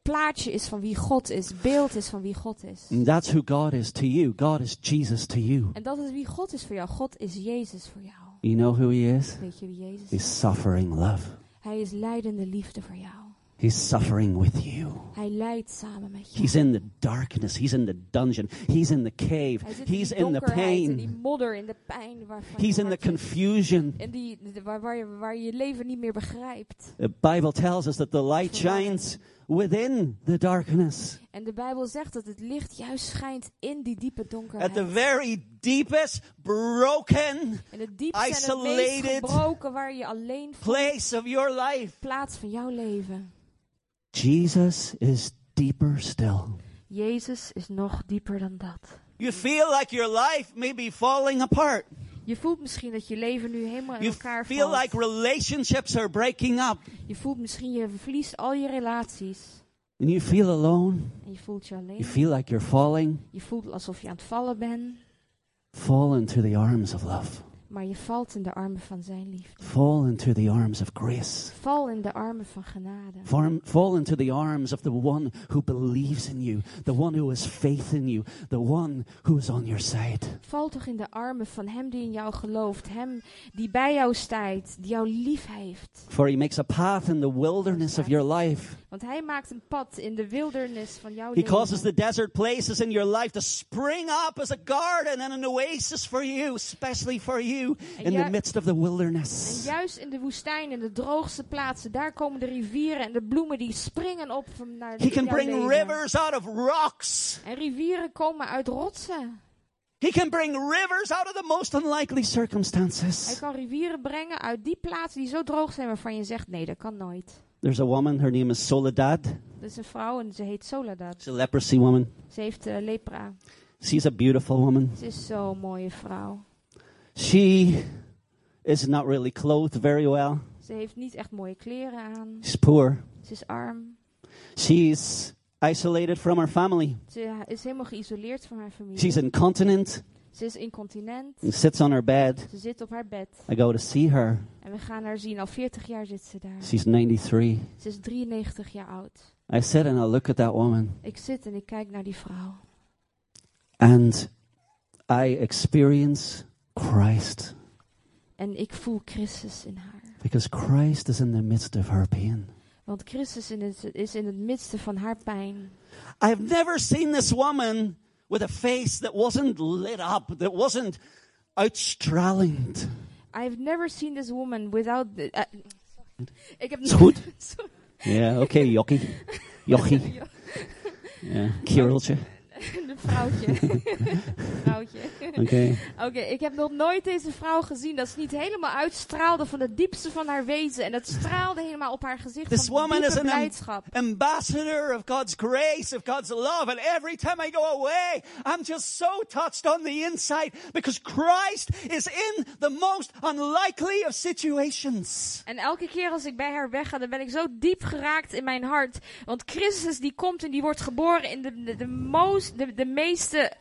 [SPEAKER 1] plaatje is van wie God is, beeld is van wie God is.
[SPEAKER 2] And that's who God is to you. God is Jesus to you.
[SPEAKER 1] En dat is wie God is voor jou. God is Jezus voor jou.
[SPEAKER 2] You know who he is?
[SPEAKER 1] Weet je wie Jezus
[SPEAKER 2] He's
[SPEAKER 1] is?
[SPEAKER 2] suffering love.
[SPEAKER 1] Hij is leidende liefde voor jou.
[SPEAKER 2] He's suffering with you.
[SPEAKER 1] Hij leidt samen met
[SPEAKER 2] He's
[SPEAKER 1] je.
[SPEAKER 2] in the darkness. He's in the dungeon. He's in the cave.
[SPEAKER 1] Hij zit in
[SPEAKER 2] He's
[SPEAKER 1] die
[SPEAKER 2] in the
[SPEAKER 1] donkerheid, in die
[SPEAKER 2] pain.
[SPEAKER 1] modder, in de pijn waarvan
[SPEAKER 2] He's
[SPEAKER 1] je
[SPEAKER 2] in the
[SPEAKER 1] hart-
[SPEAKER 2] confusion.
[SPEAKER 1] en die, de- waar, waar, je, waar je je leven niet meer begrijpt.
[SPEAKER 2] The Bible tells us that the light shines within the darkness.
[SPEAKER 1] En de Bijbel zegt dat het licht juist schijnt in die diepe donkerheid.
[SPEAKER 2] At the very deepest, broken
[SPEAKER 1] in het diepste en het meest
[SPEAKER 2] isolated
[SPEAKER 1] gebroken waar je alleen voelt,
[SPEAKER 2] place of your life,
[SPEAKER 1] plaats van jouw leven.
[SPEAKER 2] Jesus is deeper still.
[SPEAKER 1] Jezus is nog dieper dan dat.
[SPEAKER 2] You feel like your life may be falling apart.
[SPEAKER 1] Je voelt misschien dat je leven nu helemaal in
[SPEAKER 2] You
[SPEAKER 1] elkaar
[SPEAKER 2] feel
[SPEAKER 1] valt.
[SPEAKER 2] like relationships are breaking up.
[SPEAKER 1] Je voelt misschien je verliest al je relaties.
[SPEAKER 2] And you feel alone.
[SPEAKER 1] En je voelt je alleen.
[SPEAKER 2] You feel like you're falling.
[SPEAKER 1] Je voelt alsof je aan het vallen bent.
[SPEAKER 2] Fall into the arms of love.
[SPEAKER 1] Maar je valt in de armen van zijn liefde.
[SPEAKER 2] Fall into the arms of grace.
[SPEAKER 1] Val in de armen van genade.
[SPEAKER 2] Form, fall into the arms of the one who believes in you, the one who has faith in you, the one who is on your side.
[SPEAKER 1] Val toch in de armen van hem die in jou gelooft. Hem die bij jou staat. Die jou lief heeft.
[SPEAKER 2] For he makes a path in the wilderness of your life.
[SPEAKER 1] Want hij maakt een pad in de wildernis van jouw
[SPEAKER 2] He
[SPEAKER 1] leven.
[SPEAKER 2] causes the desert places in your life to spring up as a garden and an oasis for you, especially for you in the
[SPEAKER 1] Yeah.
[SPEAKER 2] midst of the
[SPEAKER 1] En
[SPEAKER 2] wilderness.
[SPEAKER 1] juist in de woestijn, in de droogste plaatsen, daar komen de rivieren en de bloemen die springen op van naar
[SPEAKER 2] He can
[SPEAKER 1] jouw
[SPEAKER 2] bring
[SPEAKER 1] leven.
[SPEAKER 2] rivers out of rocks.
[SPEAKER 1] En rivieren komen uit rotsen.
[SPEAKER 2] He can bring rivers out of the most unlikely
[SPEAKER 1] Hij
[SPEAKER 2] circumstances.
[SPEAKER 1] kan rivieren brengen uit die plaatsen die zo droog zijn waarvan je zegt, nee, dat kan nooit.
[SPEAKER 2] There's a woman, her name is Soledad.
[SPEAKER 1] Er is een vrouw en ze heet Soledad.
[SPEAKER 2] She's a leprosy woman.
[SPEAKER 1] Ze heeft eh, lepra.
[SPEAKER 2] She's a beautiful woman.
[SPEAKER 1] Ze is zo'n mooie vrouw.
[SPEAKER 2] She is not really clothed very well.
[SPEAKER 1] Ze heeft niet echt mooie kleren aan.
[SPEAKER 2] She's poor.
[SPEAKER 1] Ze is arm.
[SPEAKER 2] She's isolated from her family.
[SPEAKER 1] Ze is helemaal geïsoleerd van haar familie.
[SPEAKER 2] She's incontinent
[SPEAKER 1] Ze is incontinent.
[SPEAKER 2] and sits on her bed.
[SPEAKER 1] Ze zit op haar bed.
[SPEAKER 2] I go to see her.
[SPEAKER 1] En we gaan haar zien. Al 40 jaar zit ze daar.
[SPEAKER 2] She's 93.
[SPEAKER 1] Ze is 93 jaar oud.
[SPEAKER 2] I sit and I look at that woman
[SPEAKER 1] Ik zit en ik kijk naar die vrouw.
[SPEAKER 2] and I experience Christ
[SPEAKER 1] En ik voel Christus in haar.
[SPEAKER 2] because Christ is in the midst of her pain.
[SPEAKER 1] Want Christus in het, is in het midden van haar pijn.
[SPEAKER 2] I've never seen this woman with a face that wasn't lit up, that wasn't outstralined.
[SPEAKER 1] I've never seen this woman without... The, eh, ik heb
[SPEAKER 2] Is goed.
[SPEAKER 1] Sorry.
[SPEAKER 2] Yeah, okay, yucky. Yucky.
[SPEAKER 1] Ja,
[SPEAKER 2] Yeah, Kirillcha.
[SPEAKER 1] Een vrouwtje. Een vrouwtje.
[SPEAKER 2] Okay.
[SPEAKER 1] Oké, ik heb nog nooit deze vrouw gezien dat ze niet helemaal uitstraalde van het diepste van haar wezen. En dat straalde helemaal op haar gezicht
[SPEAKER 2] This
[SPEAKER 1] van
[SPEAKER 2] woman
[SPEAKER 1] diepe
[SPEAKER 2] is an am-
[SPEAKER 1] blijdschap.
[SPEAKER 2] ambassador of God's grace, of God's love. And every time I go away, I'm just so touched on the inside because Christ is in the most unlikely of situations.
[SPEAKER 1] En elke keer als ik bij haar wegga, dan ben ik zo diep geraakt in mijn hart. Want Christus die komt en die wordt geboren in de, de, de, most, de, de meeste,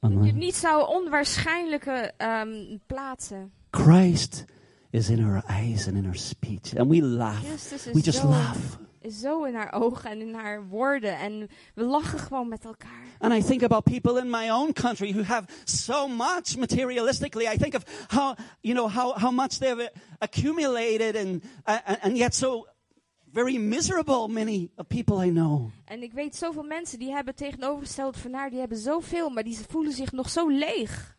[SPEAKER 1] je niet zou onwaarschijnlijke ehm, plaatsen.
[SPEAKER 2] Christ is in our eyes and in our speech. And we laugh.
[SPEAKER 1] Christus is
[SPEAKER 2] We just
[SPEAKER 1] zo,
[SPEAKER 2] laugh.
[SPEAKER 1] is zo in haar ogen en in haar woorden. En we lachen gewoon met elkaar.
[SPEAKER 2] And I think about people in my own country who have so much materialistically. I think of how, you know, how, how much they've uh, accumulated and, uh, and, and yet so very miserable, many of people I know.
[SPEAKER 1] En ik weet zoveel mensen die hebben tegenovergesteld van haar. Die hebben zoveel, maar die voelen zich nog zo leeg.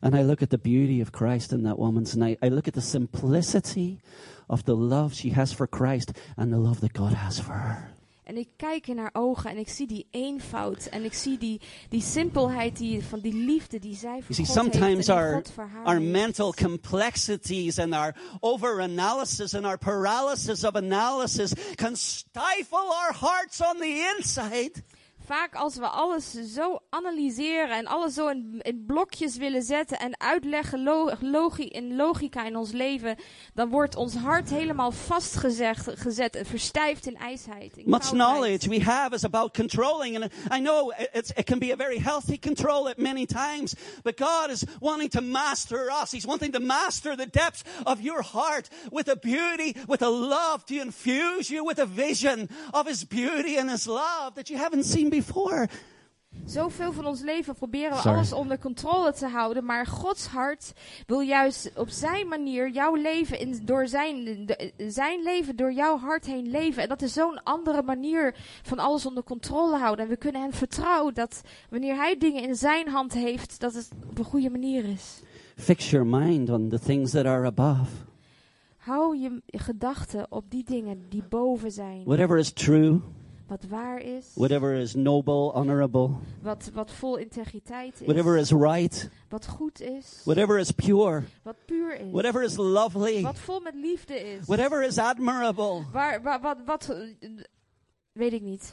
[SPEAKER 2] And I look at the beauty of Christ in that woman's night. I look at the simplicity of the love she has for Christ and the love that God has for her.
[SPEAKER 1] En ik kijk in haar ogen en ik zie die eenvoud. En ik zie die, die simpelheid die, van die liefde die zij
[SPEAKER 2] You
[SPEAKER 1] voor
[SPEAKER 2] see,
[SPEAKER 1] God heeft en
[SPEAKER 2] sometimes
[SPEAKER 1] die
[SPEAKER 2] our,
[SPEAKER 1] God voor haar
[SPEAKER 2] our
[SPEAKER 1] heeft.
[SPEAKER 2] mental complexities and our overanalysis and our paralysis of analysis can stifle our hearts on the inside.
[SPEAKER 1] Vaak als we alles zo analyseren en alles zo in, in blokjes willen zetten en uitleggen lo- logi- in logica in ons leven, dan wordt ons hart helemaal vastgezet gezet en verstijfd in ijsheid. in
[SPEAKER 2] Much
[SPEAKER 1] koudheid.
[SPEAKER 2] knowledge we have is about controlling, and I know it- it's, it can be a very healthy control at many times, but God is wanting to master us. He's wanting to master the depths of your heart with a beauty, with a love to infuse you with a vision of His beauty and His love that you haven't seen before.
[SPEAKER 1] Zoveel van ons leven proberen we
[SPEAKER 2] Sorry.
[SPEAKER 1] alles onder controle te houden, maar Gods hart wil juist op zijn manier jouw leven in, door zijn, de- zijn leven door jouw hart heen leven. En dat is zo'n andere manier van alles onder controle houden. En we kunnen hem vertrouwen dat wanneer hij dingen in zijn hand heeft, dat het op een goede manier is.
[SPEAKER 2] Fix your mind on the things that are above.
[SPEAKER 1] Hou je gedachten op die dingen die boven zijn.
[SPEAKER 2] Whatever is true,
[SPEAKER 1] Wat waar is,
[SPEAKER 2] whatever is noble, honorable,
[SPEAKER 1] wat, wat vol integriteit
[SPEAKER 2] whatever
[SPEAKER 1] is,
[SPEAKER 2] is right,
[SPEAKER 1] wat goed is,
[SPEAKER 2] whatever is pure,
[SPEAKER 1] wat puur is.
[SPEAKER 2] whatever is lovely,
[SPEAKER 1] Wat vol met liefde is.
[SPEAKER 2] whatever is admirable.
[SPEAKER 1] Waar, waar, wat, wat, eh, weet ik niet.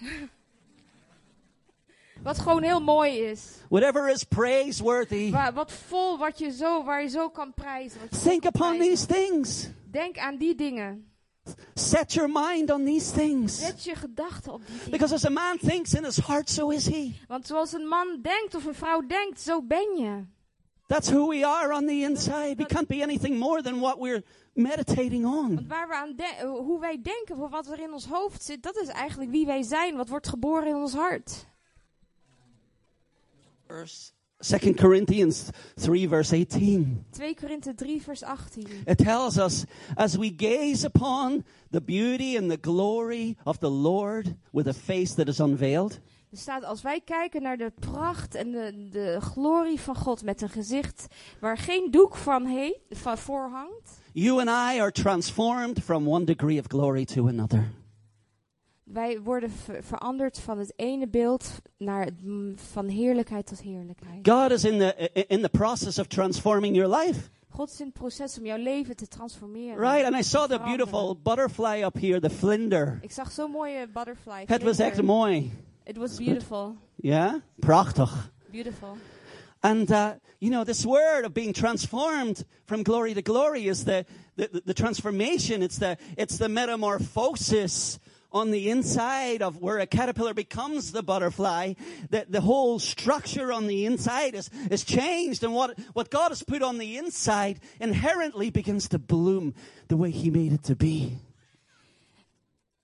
[SPEAKER 1] wat gewoon heel mooi is.
[SPEAKER 2] whatever is praiseworthy.
[SPEAKER 1] Waar, wat vol, wat je zo, waar je zo kan prijzen. wat je zo
[SPEAKER 2] Think
[SPEAKER 1] kan
[SPEAKER 2] upon these
[SPEAKER 1] prijzen.
[SPEAKER 2] things.
[SPEAKER 1] Denk aan die dingen.
[SPEAKER 2] Set your mind on these things.
[SPEAKER 1] Zet je gedachten op die dingen.
[SPEAKER 2] Because as a man thinks in his heart, so is he.
[SPEAKER 1] Want zoals een man denkt of een vrouw denkt, zo ben je.
[SPEAKER 2] That's who we are on the inside. We can't be anything more than what we're meditating
[SPEAKER 1] Want
[SPEAKER 2] on.
[SPEAKER 1] waar we aan de- eh, hoe wij denken, voor wat er in ons hoofd zit, dat is eigenlijk wie wij zijn. Wat wordt geboren in ons hart.
[SPEAKER 2] Verse- 2 Corinthians 3, verse 18.
[SPEAKER 1] 2 Korinthe 3 vers 18.
[SPEAKER 2] It tells us, as we gaze upon the beauty and the glory of the Lord with a face that is unveiled,
[SPEAKER 1] Er staat, als wij kijken naar de pracht en de, de glorie van God met een gezicht waar geen doek van, heet, van voor hangt,
[SPEAKER 2] you and I are transformed from one degree of glory to another.
[SPEAKER 1] wij worden ver- veranderd van het ene beeld naar het, m- van heerlijkheid tot heerlijkheid.
[SPEAKER 2] God is in the in the process of transforming your life,
[SPEAKER 1] God is in het proces om jouw leven te transformeren.
[SPEAKER 2] right? And I saw the beautiful butterfly up here, the flinder.
[SPEAKER 1] Ik zag zo'n mooie butterfly.
[SPEAKER 2] Het was echt
[SPEAKER 1] vlinder.
[SPEAKER 2] mooi,
[SPEAKER 1] It was beautiful.
[SPEAKER 2] yeah, prachtig.
[SPEAKER 1] Beautiful.
[SPEAKER 2] And uh, you know, this word of being transformed from glory to glory is the, the, the, transformation. It's the it's the metamorphosis on the inside of where a caterpillar becomes the butterfly. That the whole structure on the inside is is changed, and what what God has put on the inside inherently begins to bloom the way He made it to be.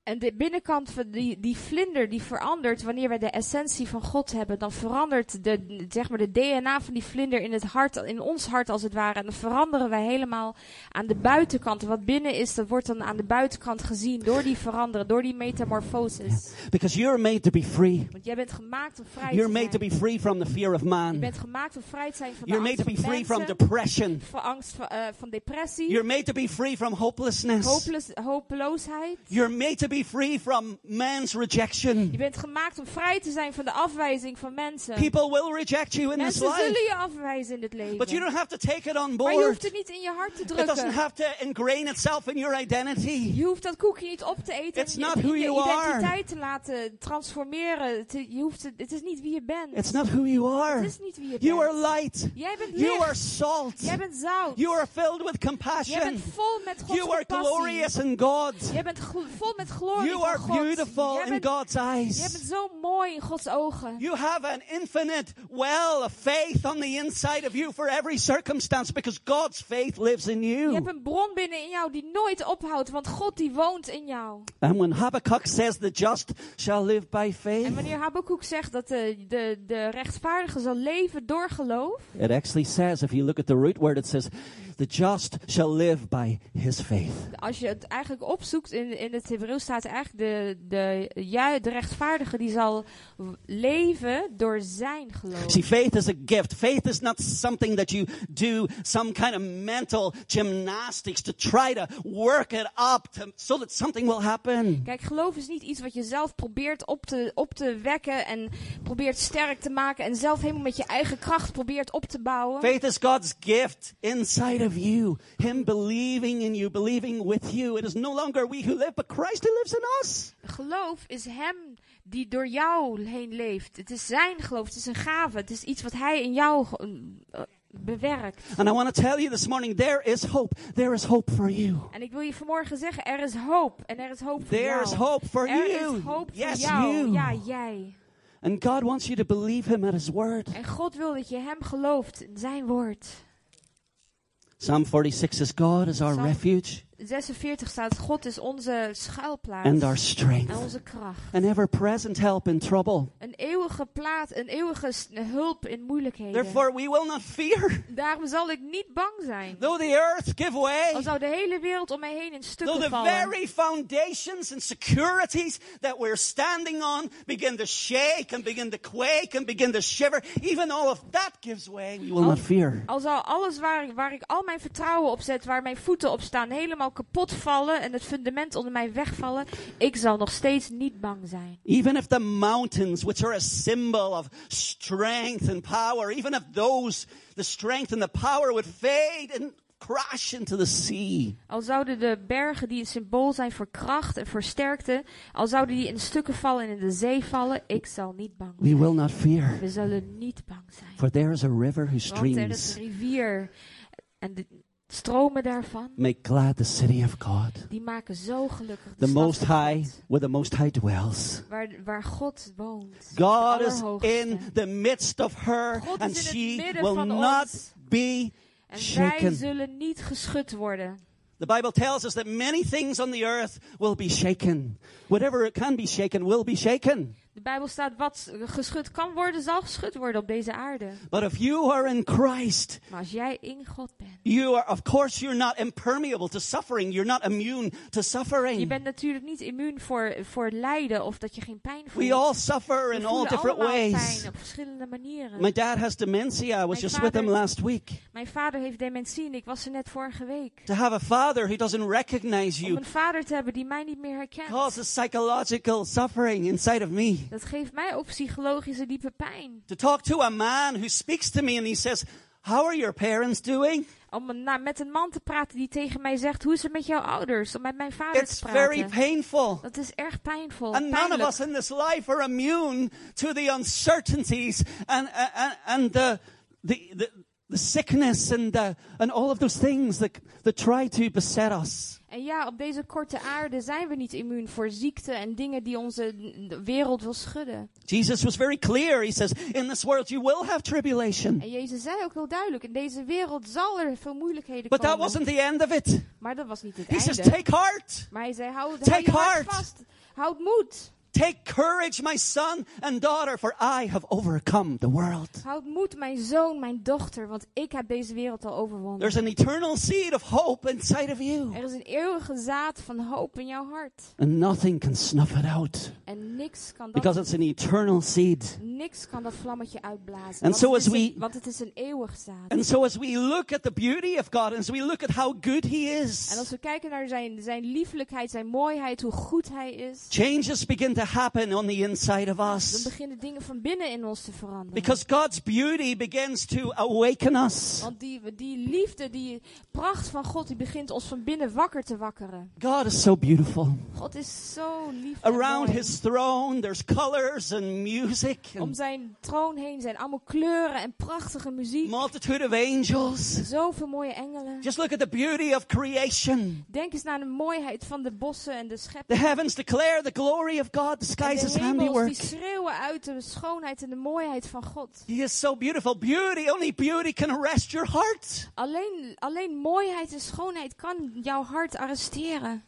[SPEAKER 1] En de binnenkant van die, die vlinder die verandert wanneer wij de essentie van God hebben. Dan verandert de, zeg maar, de DNA van die vlinder in het hart, in ons hart als het ware. En dan veranderen wij helemaal aan de buitenkant. Wat binnen is, dat wordt dan aan de buitenkant gezien door die veranderen, door die metamorfoses.
[SPEAKER 2] Because you're made to be free.
[SPEAKER 1] Want jij bent gemaakt om vrij
[SPEAKER 2] You're
[SPEAKER 1] te zijn.
[SPEAKER 2] made to be free from the fear of
[SPEAKER 1] Je
[SPEAKER 2] man.
[SPEAKER 1] bent gemaakt om vrij te zijn van de
[SPEAKER 2] You're
[SPEAKER 1] angst
[SPEAKER 2] made to be
[SPEAKER 1] van
[SPEAKER 2] free from
[SPEAKER 1] mensen,
[SPEAKER 2] depression.
[SPEAKER 1] van angst van, eh, van depressie,
[SPEAKER 2] You're made to be free from hopelessness.
[SPEAKER 1] hopeloos- hopeloosheid.
[SPEAKER 2] You're made to be free from man's
[SPEAKER 1] Je
[SPEAKER 2] rejection.
[SPEAKER 1] bent gemaakt om vrij te zijn van de afwijzing van mensen.
[SPEAKER 2] People will reject you in this
[SPEAKER 1] Mensen
[SPEAKER 2] life,
[SPEAKER 1] zullen je afwijzen in het leven.
[SPEAKER 2] but you don't have to take it on
[SPEAKER 1] Maar je
[SPEAKER 2] board.
[SPEAKER 1] hoeft het niet in je hart te
[SPEAKER 2] It doesn't
[SPEAKER 1] drukken.
[SPEAKER 2] have to ingrain itself in your identity.
[SPEAKER 1] Je hoeft dat koekje niet op te eten.
[SPEAKER 2] It's
[SPEAKER 1] en je-
[SPEAKER 2] not
[SPEAKER 1] in
[SPEAKER 2] who
[SPEAKER 1] je
[SPEAKER 2] you are.
[SPEAKER 1] identiteit te laten transformeren. Het, je hoeft het, het is niet wie je bent.
[SPEAKER 2] It's not who you
[SPEAKER 1] het
[SPEAKER 2] are.
[SPEAKER 1] is niet wie je
[SPEAKER 2] You are
[SPEAKER 1] bent.
[SPEAKER 2] light.
[SPEAKER 1] Jij bent
[SPEAKER 2] You
[SPEAKER 1] licht.
[SPEAKER 2] are salt.
[SPEAKER 1] Jij bent zout.
[SPEAKER 2] You are filled with
[SPEAKER 1] Jij bent
[SPEAKER 2] compassion.
[SPEAKER 1] vol met Gods
[SPEAKER 2] You are
[SPEAKER 1] compassie.
[SPEAKER 2] glorious in God.
[SPEAKER 1] Jij bent gl- vol met glorie
[SPEAKER 2] You
[SPEAKER 1] van
[SPEAKER 2] are
[SPEAKER 1] God.
[SPEAKER 2] beautiful
[SPEAKER 1] Jij
[SPEAKER 2] in
[SPEAKER 1] bent,
[SPEAKER 2] God's
[SPEAKER 1] jij bent
[SPEAKER 2] eyes.
[SPEAKER 1] zo mooi in Gods ogen.
[SPEAKER 2] You have an infinite well of faith on the inside of you for every circumstance because God's faith lives in
[SPEAKER 1] Je hebt
[SPEAKER 2] you.
[SPEAKER 1] een bron binnen in jou die nooit ophoudt, want God die woont in jou.
[SPEAKER 2] And when Habakkuk says the just shall live by
[SPEAKER 1] En
[SPEAKER 2] faith,
[SPEAKER 1] wanneer Habakkuk zegt dat de, de, de rechtvaardige zal leven door geloof,
[SPEAKER 2] it actually says, if you look at the root word, it says, the just shall live by his faith.
[SPEAKER 1] als je het eigenlijk opzoekt in, in het Hebreeuws staat eigenlijk de, de, ju- de rechtvaardige die zal w- leven door zijn geloof.
[SPEAKER 2] See, faith is a gift. Faith is not something that you do some kind of mental gymnastics to try to work it up to, so that something will happen.
[SPEAKER 1] Kijk, geloof is niet iets wat je zelf probeert op te, op te wekken en probeert sterk te maken en zelf helemaal met je eigen kracht probeert op te bouwen.
[SPEAKER 2] Faith is God's gift inside of you. Him believing in you, believing with you. It is no longer we who live, but Christ who lives in us.
[SPEAKER 1] Geloof is hem die door jou heen leeft. Het is zijn geloof, het is een gave, het is iets wat hij in jou ge- eh, bewerkt.
[SPEAKER 2] And I want to tell you this morning, there is hope. There is hope for you.
[SPEAKER 1] En ik wil je vanmorgen zeggen, er is hoop en er is hoop voor jou.
[SPEAKER 2] There is hope for
[SPEAKER 1] er
[SPEAKER 2] you.
[SPEAKER 1] is hoop
[SPEAKER 2] yes,
[SPEAKER 1] voor jou.
[SPEAKER 2] you.
[SPEAKER 1] Ja, jij.
[SPEAKER 2] And God wants you to believe Him at His word.
[SPEAKER 1] En God wil dat je hem gelooft, zijn woord.
[SPEAKER 2] Psalm 46 says, God is our
[SPEAKER 1] Psalm-
[SPEAKER 2] refuge
[SPEAKER 1] 46 staat, God is onze schuilplaats
[SPEAKER 2] and our strength.
[SPEAKER 1] en onze kracht.
[SPEAKER 2] an ever present help in trouble.
[SPEAKER 1] Een eeuwige plaat, een eeuwige s- hulp in moeilijkheden.
[SPEAKER 2] Therefore, we will not fear.
[SPEAKER 1] Daarom zal ik niet bang zijn.
[SPEAKER 2] Though the earth give way,
[SPEAKER 1] Al zou de hele wereld om mij heen in
[SPEAKER 2] though
[SPEAKER 1] stukken
[SPEAKER 2] the
[SPEAKER 1] vallen.
[SPEAKER 2] very foundations and securities that we're standing on begin to shake and begin to quake and begin to shiver, even all of that gives way, we will not fear.
[SPEAKER 1] Al zou alles waar, waar ik al mijn vertrouwen op zet, waar mijn voeten op staan, helemaal kapot vallen en het fundament onder mij wegvallen, ik zal nog steeds niet bang zijn.
[SPEAKER 2] Even if the mountains, which are a symbol of strength and power, even if those, the strength and the power would fade and crash into the sea,
[SPEAKER 1] Al zouden de bergen die een symbool zijn voor kracht en voor sterkte, al zouden die in stukken vallen en in de zee vallen, ik zal niet bang
[SPEAKER 2] we
[SPEAKER 1] zijn.
[SPEAKER 2] will not fear.
[SPEAKER 1] We zullen niet bang zijn.
[SPEAKER 2] For there is a river whose
[SPEAKER 1] Want er is
[SPEAKER 2] streams
[SPEAKER 1] een rivier en de stromen daarvan,
[SPEAKER 2] make glad the city of God.
[SPEAKER 1] die maken zo gelukkig.
[SPEAKER 2] The
[SPEAKER 1] de stad
[SPEAKER 2] Most
[SPEAKER 1] van
[SPEAKER 2] High,
[SPEAKER 1] God,
[SPEAKER 2] where the Most High dwells.
[SPEAKER 1] Waar, waar God woont.
[SPEAKER 2] God
[SPEAKER 1] de
[SPEAKER 2] is
[SPEAKER 1] Allerhoogste.
[SPEAKER 2] in the midst of her,
[SPEAKER 1] God
[SPEAKER 2] and
[SPEAKER 1] is in het
[SPEAKER 2] she
[SPEAKER 1] midden
[SPEAKER 2] will
[SPEAKER 1] van
[SPEAKER 2] not
[SPEAKER 1] ons.
[SPEAKER 2] be
[SPEAKER 1] En wij
[SPEAKER 2] shaken.
[SPEAKER 1] zullen niet geschud worden.
[SPEAKER 2] The Bible tells us that many things on the earth will be shaken. Whatever it can be shaken will be shaken.
[SPEAKER 1] De Bijbel staat, wat geschud kan worden, zal geschud worden op deze aarde.
[SPEAKER 2] But if you are in Christ,
[SPEAKER 1] Maar als jij in God bent,
[SPEAKER 2] you are, of course, you're not impermeable to suffering. You're not immune to
[SPEAKER 1] je
[SPEAKER 2] suffering.
[SPEAKER 1] bent natuurlijk niet immuun voor, voor lijden of dat je geen pijn voelt.
[SPEAKER 2] We all suffer
[SPEAKER 1] We
[SPEAKER 2] in all
[SPEAKER 1] voelen
[SPEAKER 2] different
[SPEAKER 1] allemaal
[SPEAKER 2] ways.
[SPEAKER 1] pijn op verschillende manieren.
[SPEAKER 2] My dad has dementia. I was
[SPEAKER 1] My
[SPEAKER 2] just with him
[SPEAKER 1] father-
[SPEAKER 2] last week.
[SPEAKER 1] Mijn vader heeft dementie en ik was er net vorige week.
[SPEAKER 2] To have a father who doesn't recognize
[SPEAKER 1] Om
[SPEAKER 2] you
[SPEAKER 1] een vader te hebben die mij niet meer herkent.
[SPEAKER 2] causes psychological suffering inside of me.
[SPEAKER 1] Dat geeft mij ook psychologische diepe pijn.
[SPEAKER 2] To talk to a man who speaks to me and he says, How are your parents doing?
[SPEAKER 1] Om een- nou, met een man te praten die tegen mij zegt, hoe is het met jouw ouders? Om met mijn vader
[SPEAKER 2] It's
[SPEAKER 1] te
[SPEAKER 2] very
[SPEAKER 1] praten.
[SPEAKER 2] painful.
[SPEAKER 1] Dat is erg pijnvol.
[SPEAKER 2] And none of
[SPEAKER 1] pijnlijk.
[SPEAKER 2] us in this life are immune to the uncertainties and, and, and the, the, the, the sickness and, the, and all of those things that, that try to beset us.
[SPEAKER 1] En ja, op deze korte aarde zijn we niet immuun voor ziekten en dingen die onze n- de wereld wil schudden.
[SPEAKER 2] Jesus was very clear. He says, In this world you will have tribulation.
[SPEAKER 1] En Jezus zei ook heel duidelijk, in deze wereld zal er veel moeilijkheden
[SPEAKER 2] But that
[SPEAKER 1] komen.
[SPEAKER 2] wasn't the end of it.
[SPEAKER 1] Maar dat was niet het
[SPEAKER 2] He says,
[SPEAKER 1] einde.
[SPEAKER 2] Take heart.
[SPEAKER 1] maar hij zei, hou, hou
[SPEAKER 2] Take
[SPEAKER 1] je hart
[SPEAKER 2] heart.
[SPEAKER 1] vast, houd moed.
[SPEAKER 2] Take courage, my son and daughter, for I have overcome the world.
[SPEAKER 1] Houd moed, mijn zoon, mijn dochter, want ik heb deze wereld al overwonnen.
[SPEAKER 2] There's an eternal seed of hope inside of you,
[SPEAKER 1] Er is een eeuwige zaad van hoop in jouw hart.
[SPEAKER 2] and nothing can snuff it out
[SPEAKER 1] En niks kan dat,
[SPEAKER 2] because it's an eternal seed.
[SPEAKER 1] niks kan dat vlammetje uitblazen.
[SPEAKER 2] And
[SPEAKER 1] want,
[SPEAKER 2] so
[SPEAKER 1] het
[SPEAKER 2] as
[SPEAKER 1] is een-
[SPEAKER 2] we-
[SPEAKER 1] want het is een eeuwig zaad.
[SPEAKER 2] And so, as we look at the beauty of God, as we look at how good He
[SPEAKER 1] En als
[SPEAKER 2] is,
[SPEAKER 1] we kijken naar zijn, zijn liefelijkheid, zijn mooiheid, hoe goed hij is,
[SPEAKER 2] changes begin to to happen on the inside of
[SPEAKER 1] dan
[SPEAKER 2] us.
[SPEAKER 1] beginnen dingen van binnen in ons te veranderen.
[SPEAKER 2] Because God's beauty begins to awaken us.
[SPEAKER 1] Want die, die liefde, die pracht van God, die begint ons van binnen wakker te wakkeren.
[SPEAKER 2] God is so beautiful.
[SPEAKER 1] God is zo lief. en
[SPEAKER 2] Around
[SPEAKER 1] mooi.
[SPEAKER 2] his throne, there's colors and music
[SPEAKER 1] Om
[SPEAKER 2] and
[SPEAKER 1] zijn troon heen zijn allemaal kleuren en prachtige muziek.
[SPEAKER 2] multitude of angels.
[SPEAKER 1] Zoveel mooie engelen.
[SPEAKER 2] Just look at the beauty of creation.
[SPEAKER 1] Denk eens naar de mooiheid van de bossen en de
[SPEAKER 2] The
[SPEAKER 1] schepping.
[SPEAKER 2] heavens declare the glory of God. The
[SPEAKER 1] En
[SPEAKER 2] skies
[SPEAKER 1] de
[SPEAKER 2] his
[SPEAKER 1] hemels
[SPEAKER 2] handiwork.
[SPEAKER 1] die schreeuwen uit de schoonheid en de mooiheid van God.
[SPEAKER 2] He is so beautiful. Beauty, only beauty can arrest your heart.
[SPEAKER 1] Alleen, alleen mooiheid en schoonheid kan jouw hart arresteren.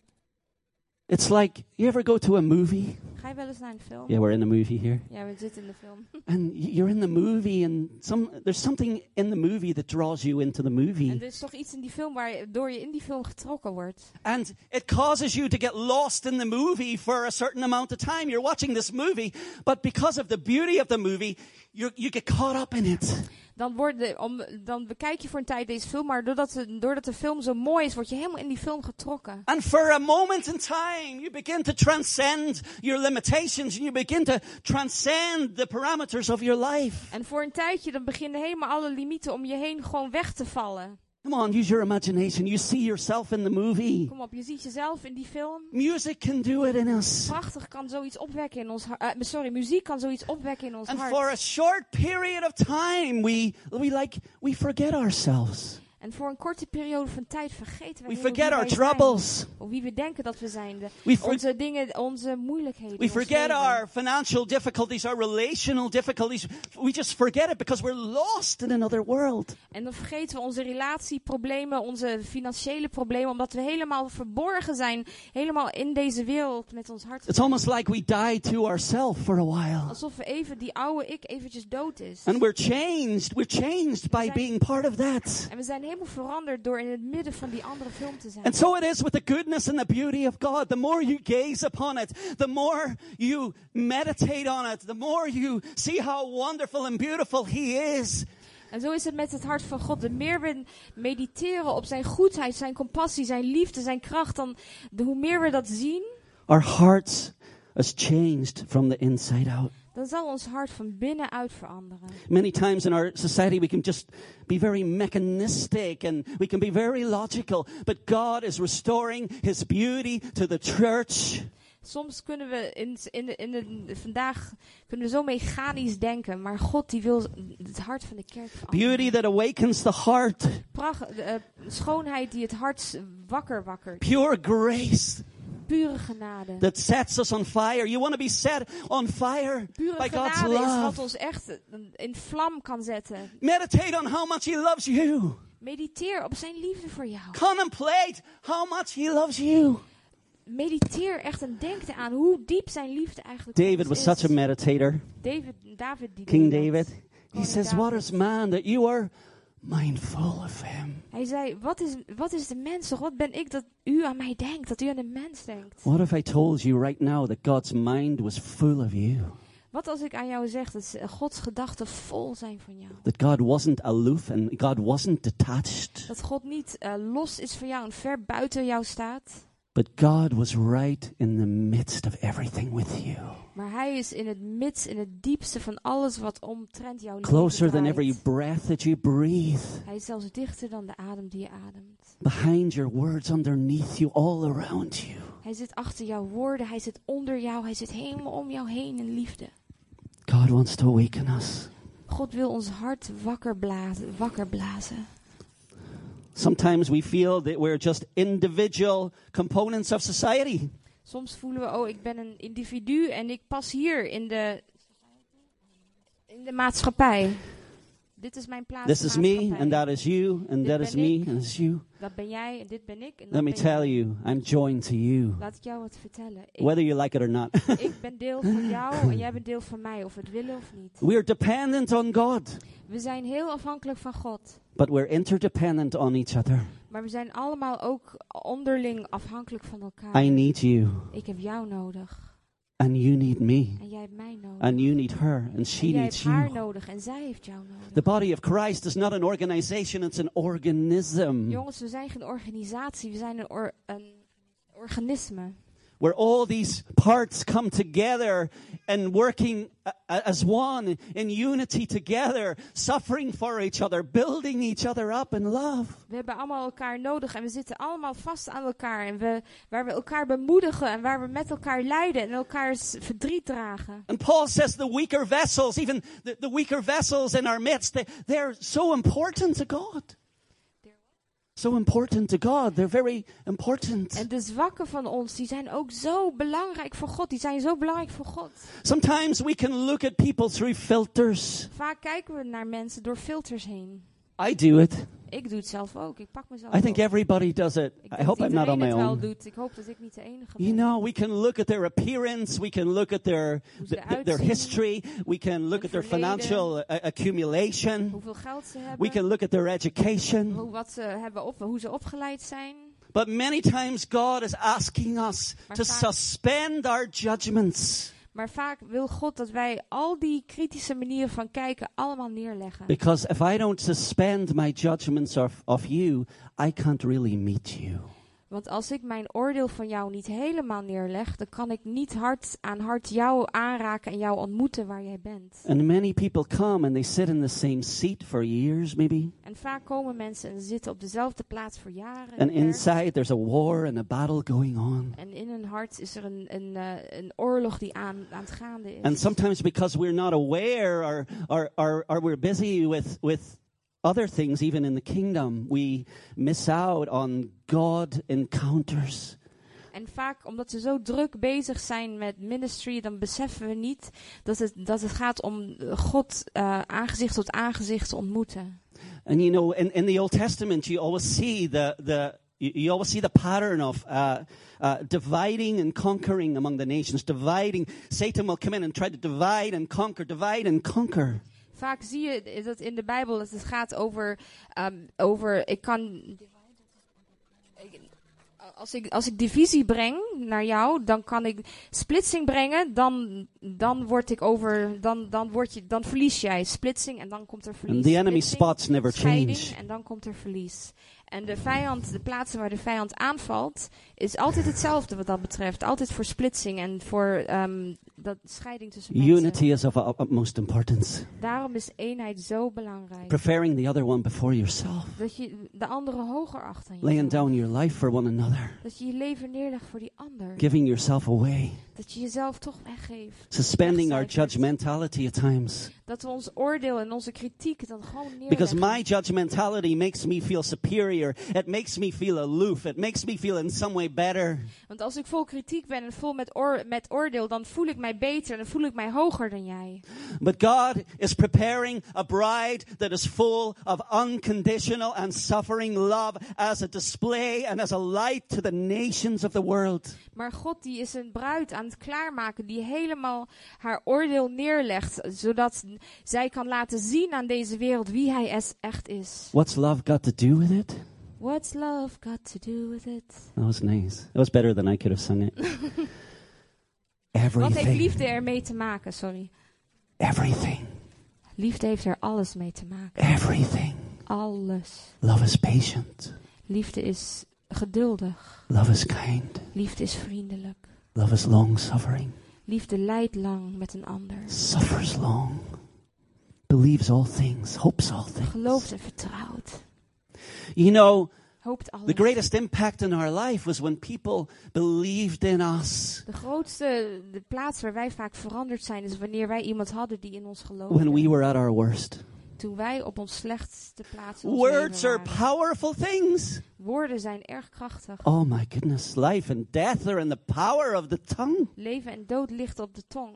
[SPEAKER 2] It's like, you ever go to a movie?
[SPEAKER 1] Ga je wel eens naar een film?
[SPEAKER 2] Yeah, we're in a movie here.
[SPEAKER 1] Ja, we zitten in de film.
[SPEAKER 2] And y- you're in the movie and some, there's something in the movie that draws you into the
[SPEAKER 1] En
[SPEAKER 2] movie.
[SPEAKER 1] er is toch iets in die film waardoor je in die film getrokken wordt.
[SPEAKER 2] And it causes you to get lost in the movie for a certain amount of time. You're watching this movie, but because of the beauty of the movie, you you get caught up in it.
[SPEAKER 1] Dan, worden, om, dan bekijk je voor een tijd deze film, maar doordat, de- doordat de film zo mooi is, word je helemaal in die film getrokken.
[SPEAKER 2] And for a moment in time, you begin to transcend your limitations and you begin to transcend the parameters of your life.
[SPEAKER 1] En voor een tijdje dan beginnen helemaal alle limieten om je heen gewoon weg te vallen.
[SPEAKER 2] Come on, use your imagination. You see yourself in the movie.
[SPEAKER 1] Kom op, je ziet jezelf in die film.
[SPEAKER 2] Music can do it in us.
[SPEAKER 1] Prachtig kan zoiets opwekken in ons hart. eh, sorry, muziek kan zoiets opwekken in ons
[SPEAKER 2] And
[SPEAKER 1] hart.
[SPEAKER 2] for a short period of time, we, we like, we forget ourselves.
[SPEAKER 1] En voor een korte periode van tijd vergeten we,
[SPEAKER 2] We
[SPEAKER 1] heel wie
[SPEAKER 2] forget our
[SPEAKER 1] wij zijn.
[SPEAKER 2] troubles.
[SPEAKER 1] Of wie we denken dat we zijn. De-
[SPEAKER 2] We for-
[SPEAKER 1] onze dingen, onze moeilijkheden.
[SPEAKER 2] We
[SPEAKER 1] ons
[SPEAKER 2] forget
[SPEAKER 1] leven.
[SPEAKER 2] our financial difficulties, our relational difficulties. We just forget it because we're lost in another world.
[SPEAKER 1] En dan vergeten we onze relatieproblemen, onze financiële problemen, omdat we helemaal verborgen zijn, helemaal in deze wereld met ons hart.
[SPEAKER 2] It's almost like we die to ourselves for a while.
[SPEAKER 1] Alsof we even die oude ik eventjes dood is.
[SPEAKER 2] And we're changed. We're changed by being part of that.
[SPEAKER 1] En we zijn helemaal veranderd door in het midden van die andere film te zijn.
[SPEAKER 2] And so it is with the goodness and the beauty of God. The more you gaze upon it, the more you meditate on it, the more you see how wonderful and beautiful He is,
[SPEAKER 1] En zo is het met het hart van God. De meer we mediteren op zijn goedheid, zijn compassie, zijn liefde, zijn kracht, dan de, hoe meer we dat zien,
[SPEAKER 2] our hearts is changed from the inside out.
[SPEAKER 1] dan zal ons hart van binnenuit veranderen.
[SPEAKER 2] Many times in our society, we can just be very mechanistic and we can be very logical, but God is restoring His beauty to the church.
[SPEAKER 1] Soms kunnen we in, in, de- in de, vandaag kunnen we zo mechanisch denken, maar God die wil het hart van de kerk veranderen.
[SPEAKER 2] Beauty that awakens the heart,
[SPEAKER 1] Pracht- de, eh, schoonheid die het hart s- wakker wakkert.
[SPEAKER 2] pure grace
[SPEAKER 1] Pure genade.
[SPEAKER 2] that sets us on fire. You want to be set on fire
[SPEAKER 1] Pure
[SPEAKER 2] by God's
[SPEAKER 1] genade is wat
[SPEAKER 2] love.
[SPEAKER 1] ons echt eh, in vlam kan zetten.
[SPEAKER 2] Meditate on how much He loves you.
[SPEAKER 1] Mediteer op zijn liefde voor jou.
[SPEAKER 2] Contemplate how much He loves you.
[SPEAKER 1] Mediteer echt en denk eraan hoe diep zijn liefde eigenlijk voor
[SPEAKER 2] David was
[SPEAKER 1] ons is.
[SPEAKER 2] such a meditator,
[SPEAKER 1] David, David die
[SPEAKER 2] King
[SPEAKER 1] deed dat.
[SPEAKER 2] David. He
[SPEAKER 1] Koning
[SPEAKER 2] says,
[SPEAKER 1] David.
[SPEAKER 2] What is man that you are mindful of him?
[SPEAKER 1] Hij zei, wat is, wat is de mens toch? Wat ben ik dat u aan mij denkt? Dat u aan de mens denkt?
[SPEAKER 2] What if I told you right now that God's mind was full of you?
[SPEAKER 1] Wat als ik aan jou zeg dat ze- Gods gedachten vol zijn van jou?
[SPEAKER 2] That God wasn't aloof and God wasn't detached,
[SPEAKER 1] Dat God niet eh, los is van jou en ver buiten jou staat.
[SPEAKER 2] but God was right in the midst of everything with you.
[SPEAKER 1] Maar hij is in het midst, in het diepste van alles wat omtrent jou leven
[SPEAKER 2] Closer than
[SPEAKER 1] draait.
[SPEAKER 2] every breath that you breathe,
[SPEAKER 1] Hij is zelfs dichter dan de adem die je ademt.
[SPEAKER 2] behind your words, underneath you, all around you.
[SPEAKER 1] Hij zit achter jouw woorden, hij zit onder jou, hij zit helemaal om jou heen in liefde.
[SPEAKER 2] God wants to awaken us.
[SPEAKER 1] God wil ons hart wakker blazen. Wakker blazen.
[SPEAKER 2] Sometimes we feel that we're just individual components of society.
[SPEAKER 1] Soms voelen we, oh, ik ben een individu en ik pas hier in de, in de maatschappij. Dit is mijn plaats.
[SPEAKER 2] This
[SPEAKER 1] in de
[SPEAKER 2] is me,
[SPEAKER 1] maatschappij.
[SPEAKER 2] and that is you, and that is me, and it's you.
[SPEAKER 1] Dat ben jij en dit ben ik. En dat
[SPEAKER 2] Let me
[SPEAKER 1] ben jij.
[SPEAKER 2] tell you, I'm joined to you,
[SPEAKER 1] Laat ik jou wat vertellen. Ik,
[SPEAKER 2] whether you like it or not.
[SPEAKER 1] ik ben deel van jou en jij bent deel van mij, of we het willen of niet.
[SPEAKER 2] We are dependent on God,
[SPEAKER 1] We zijn heel afhankelijk van God,
[SPEAKER 2] but we're interdependent on each other.
[SPEAKER 1] maar we zijn allemaal ook onderling afhankelijk van elkaar.
[SPEAKER 2] I need you,
[SPEAKER 1] ik heb jou nodig
[SPEAKER 2] and you need me,
[SPEAKER 1] en jij hebt mij nodig.
[SPEAKER 2] and you need her, and
[SPEAKER 1] en
[SPEAKER 2] she
[SPEAKER 1] jij hebt
[SPEAKER 2] needs
[SPEAKER 1] haar
[SPEAKER 2] you.
[SPEAKER 1] nodig en zij heeft jou nodig.
[SPEAKER 2] The body of Christ is not an organization, it's an organism.
[SPEAKER 1] Jongens, we zijn geen organisatie, we zijn een, or- een organisme.
[SPEAKER 2] where all these parts come together and working a- a- as one in unity together, suffering for each other, building each other up in love.
[SPEAKER 1] We hebben allemaal elkaar nodig en we zitten allemaal vast aan elkaar. En we, waar we elkaar bemoedigen en waar we met elkaar lijden en elkaars verdriet dragen.
[SPEAKER 2] And Paul says the weaker vessels, even the, the weaker vessels in our midst, they, they're so important to God. So important to God. They're very important.
[SPEAKER 1] En de zwakken van ons, die zijn ook zo belangrijk voor God. Die zijn zo belangrijk voor God.
[SPEAKER 2] Sometimes we can look at people through filters.
[SPEAKER 1] Vaak kijken we naar mensen door filters heen.
[SPEAKER 2] I do it.
[SPEAKER 1] Ik doe het zelf ook. Ik pak mezelf
[SPEAKER 2] I think
[SPEAKER 1] ook.
[SPEAKER 2] everybody does it.
[SPEAKER 1] Ik
[SPEAKER 2] I
[SPEAKER 1] denk
[SPEAKER 2] hope
[SPEAKER 1] dat
[SPEAKER 2] I'm not on my
[SPEAKER 1] iedereen het wel
[SPEAKER 2] own.
[SPEAKER 1] doet. Ik hoop dat ik niet de enige ben.
[SPEAKER 2] You know, we can look at their appearance, we can look at their
[SPEAKER 1] Hoe ze
[SPEAKER 2] th-
[SPEAKER 1] eruit
[SPEAKER 2] their
[SPEAKER 1] zien.
[SPEAKER 2] history, we can look
[SPEAKER 1] Hun
[SPEAKER 2] at their
[SPEAKER 1] verleden.
[SPEAKER 2] financial uh, accumulation,
[SPEAKER 1] Hoeveel geld ze
[SPEAKER 2] we
[SPEAKER 1] hebben.
[SPEAKER 2] can look at their education.
[SPEAKER 1] hoe, wat ze hebben op, hoe ze opgeleid zijn.
[SPEAKER 2] But many times God is asking us
[SPEAKER 1] Maar
[SPEAKER 2] to
[SPEAKER 1] vaak-
[SPEAKER 2] suspend our judgments
[SPEAKER 1] Maar vaak wil God dat wij al die kritische manieren van kijken allemaal neerleggen.
[SPEAKER 2] because if I don't suspend my judgments of, of you, I can't really meet you.
[SPEAKER 1] Want als ik mijn oordeel van jou niet helemaal neerleg, dan kan ik niet hart aan hart jou aanraken en jou ontmoeten waar jij bent.
[SPEAKER 2] And many people come and they sit in the same seat for years, maybe.
[SPEAKER 1] En vaak komen mensen en zitten op dezelfde plaats voor jaren.
[SPEAKER 2] And
[SPEAKER 1] ver.
[SPEAKER 2] inside there's a war and a battle going on.
[SPEAKER 1] En in hun hart is er een, een, eh, een oorlog die aan, aan het gaande is.
[SPEAKER 2] And sometimes because we're not aware or, or, or, or we're busy with, with other things, even in the kingdom, we miss out on God encounters.
[SPEAKER 1] En vaak omdat ze zo druk bezig zijn met ministry, dan beseffen we niet dat het, dat het gaat om eh, God eh, aangezicht tot aangezicht te ontmoeten.
[SPEAKER 2] And you know, in, in the Old Testament, you always see the, the you you always see the pattern of uh, uh, dividing and conquering among the nations. Dividing, Satan will come in and try to divide and conquer, divide and conquer.
[SPEAKER 1] Vaak zie je dat in de Bijbel dat het gaat over, ehm, over ik kan. Ik- Als ik, als ik divisie breng naar jou, dan kan ik splitsing brengen, dan, dan word ik over, dan, dan, word je, dan verlies jij splitsing en dan komt er verlies.
[SPEAKER 2] And the enemy
[SPEAKER 1] Splitsing.
[SPEAKER 2] spots never
[SPEAKER 1] scheiding
[SPEAKER 2] change.
[SPEAKER 1] en dan komt er verlies. En de vijand, de plaatsen waar de vijand aanvalt, is altijd hetzelfde wat dat betreft. Altijd voor splitsing en voor ehm, dat scheiding tussen mensen.
[SPEAKER 2] Unity is of ut- utmost importance.
[SPEAKER 1] Daarom is eenheid zo belangrijk.
[SPEAKER 2] Preferring the other one before yourself.
[SPEAKER 1] dat je de andere hoger acht dan
[SPEAKER 2] Laying
[SPEAKER 1] jezelf.
[SPEAKER 2] down your life for one another.
[SPEAKER 1] Dat je je leven neerlegt voor die ander.
[SPEAKER 2] Giving yourself away.
[SPEAKER 1] Dat je jezelf toch weggeeft.
[SPEAKER 2] Suspending our
[SPEAKER 1] Wegcijfert.
[SPEAKER 2] judgmentality at times.
[SPEAKER 1] Dat we ons oordeel en onze kritiek dan gewoon neerleggen.
[SPEAKER 2] Because my judgmentality makes me feel superior. It makes me feel aloof. It makes me feel in some way better.
[SPEAKER 1] Want als ik vol kritiek ben en vol met, oor- met oordeel, dan voel ik mij beter en dan voel ik mij hoger dan jij.
[SPEAKER 2] But God is preparing a bride that is full of unconditional and suffering love as a display and as a light to the nations of the world.
[SPEAKER 1] Maar God die is een bruid aan het klaarmaken die helemaal haar oordeel neerlegt, zodat zij kan laten zien aan deze wereld wie hij es- echt is.
[SPEAKER 2] What's love got to do with it?
[SPEAKER 1] What's love got to do with it?
[SPEAKER 2] That was nice. That was better than I could have sung it.
[SPEAKER 1] Wat heeft
[SPEAKER 2] everything.
[SPEAKER 1] liefde ermee te maken? Sorry.
[SPEAKER 2] Everything.
[SPEAKER 1] Liefde heeft er alles mee te maken.
[SPEAKER 2] Everything.
[SPEAKER 1] Alles.
[SPEAKER 2] Love is patient.
[SPEAKER 1] Liefde is geduldig.
[SPEAKER 2] Love is kind.
[SPEAKER 1] Liefde is vriendelijk.
[SPEAKER 2] Love is long suffering.
[SPEAKER 1] Liefde lijdt lang met een ander.
[SPEAKER 2] Suffers long. Believes all things. Hopes all things.
[SPEAKER 1] Gelooft en vertrouwt.
[SPEAKER 2] You know,
[SPEAKER 1] Hoopt
[SPEAKER 2] the
[SPEAKER 1] alles.
[SPEAKER 2] greatest impact in our life was when people believed in us.
[SPEAKER 1] De grootste de plaats waar wij vaak veranderd zijn is wanneer wij iemand hadden die in ons geloofde.
[SPEAKER 2] When we were at our worst.
[SPEAKER 1] Toen wij op ons slechtste plaats in ons
[SPEAKER 2] Words are
[SPEAKER 1] leven waren.
[SPEAKER 2] powerful things.
[SPEAKER 1] Woorden zijn erg krachtig.
[SPEAKER 2] Oh my goodness. Life and death are in the power of the tongue.
[SPEAKER 1] Leven en dood ligt op de tong.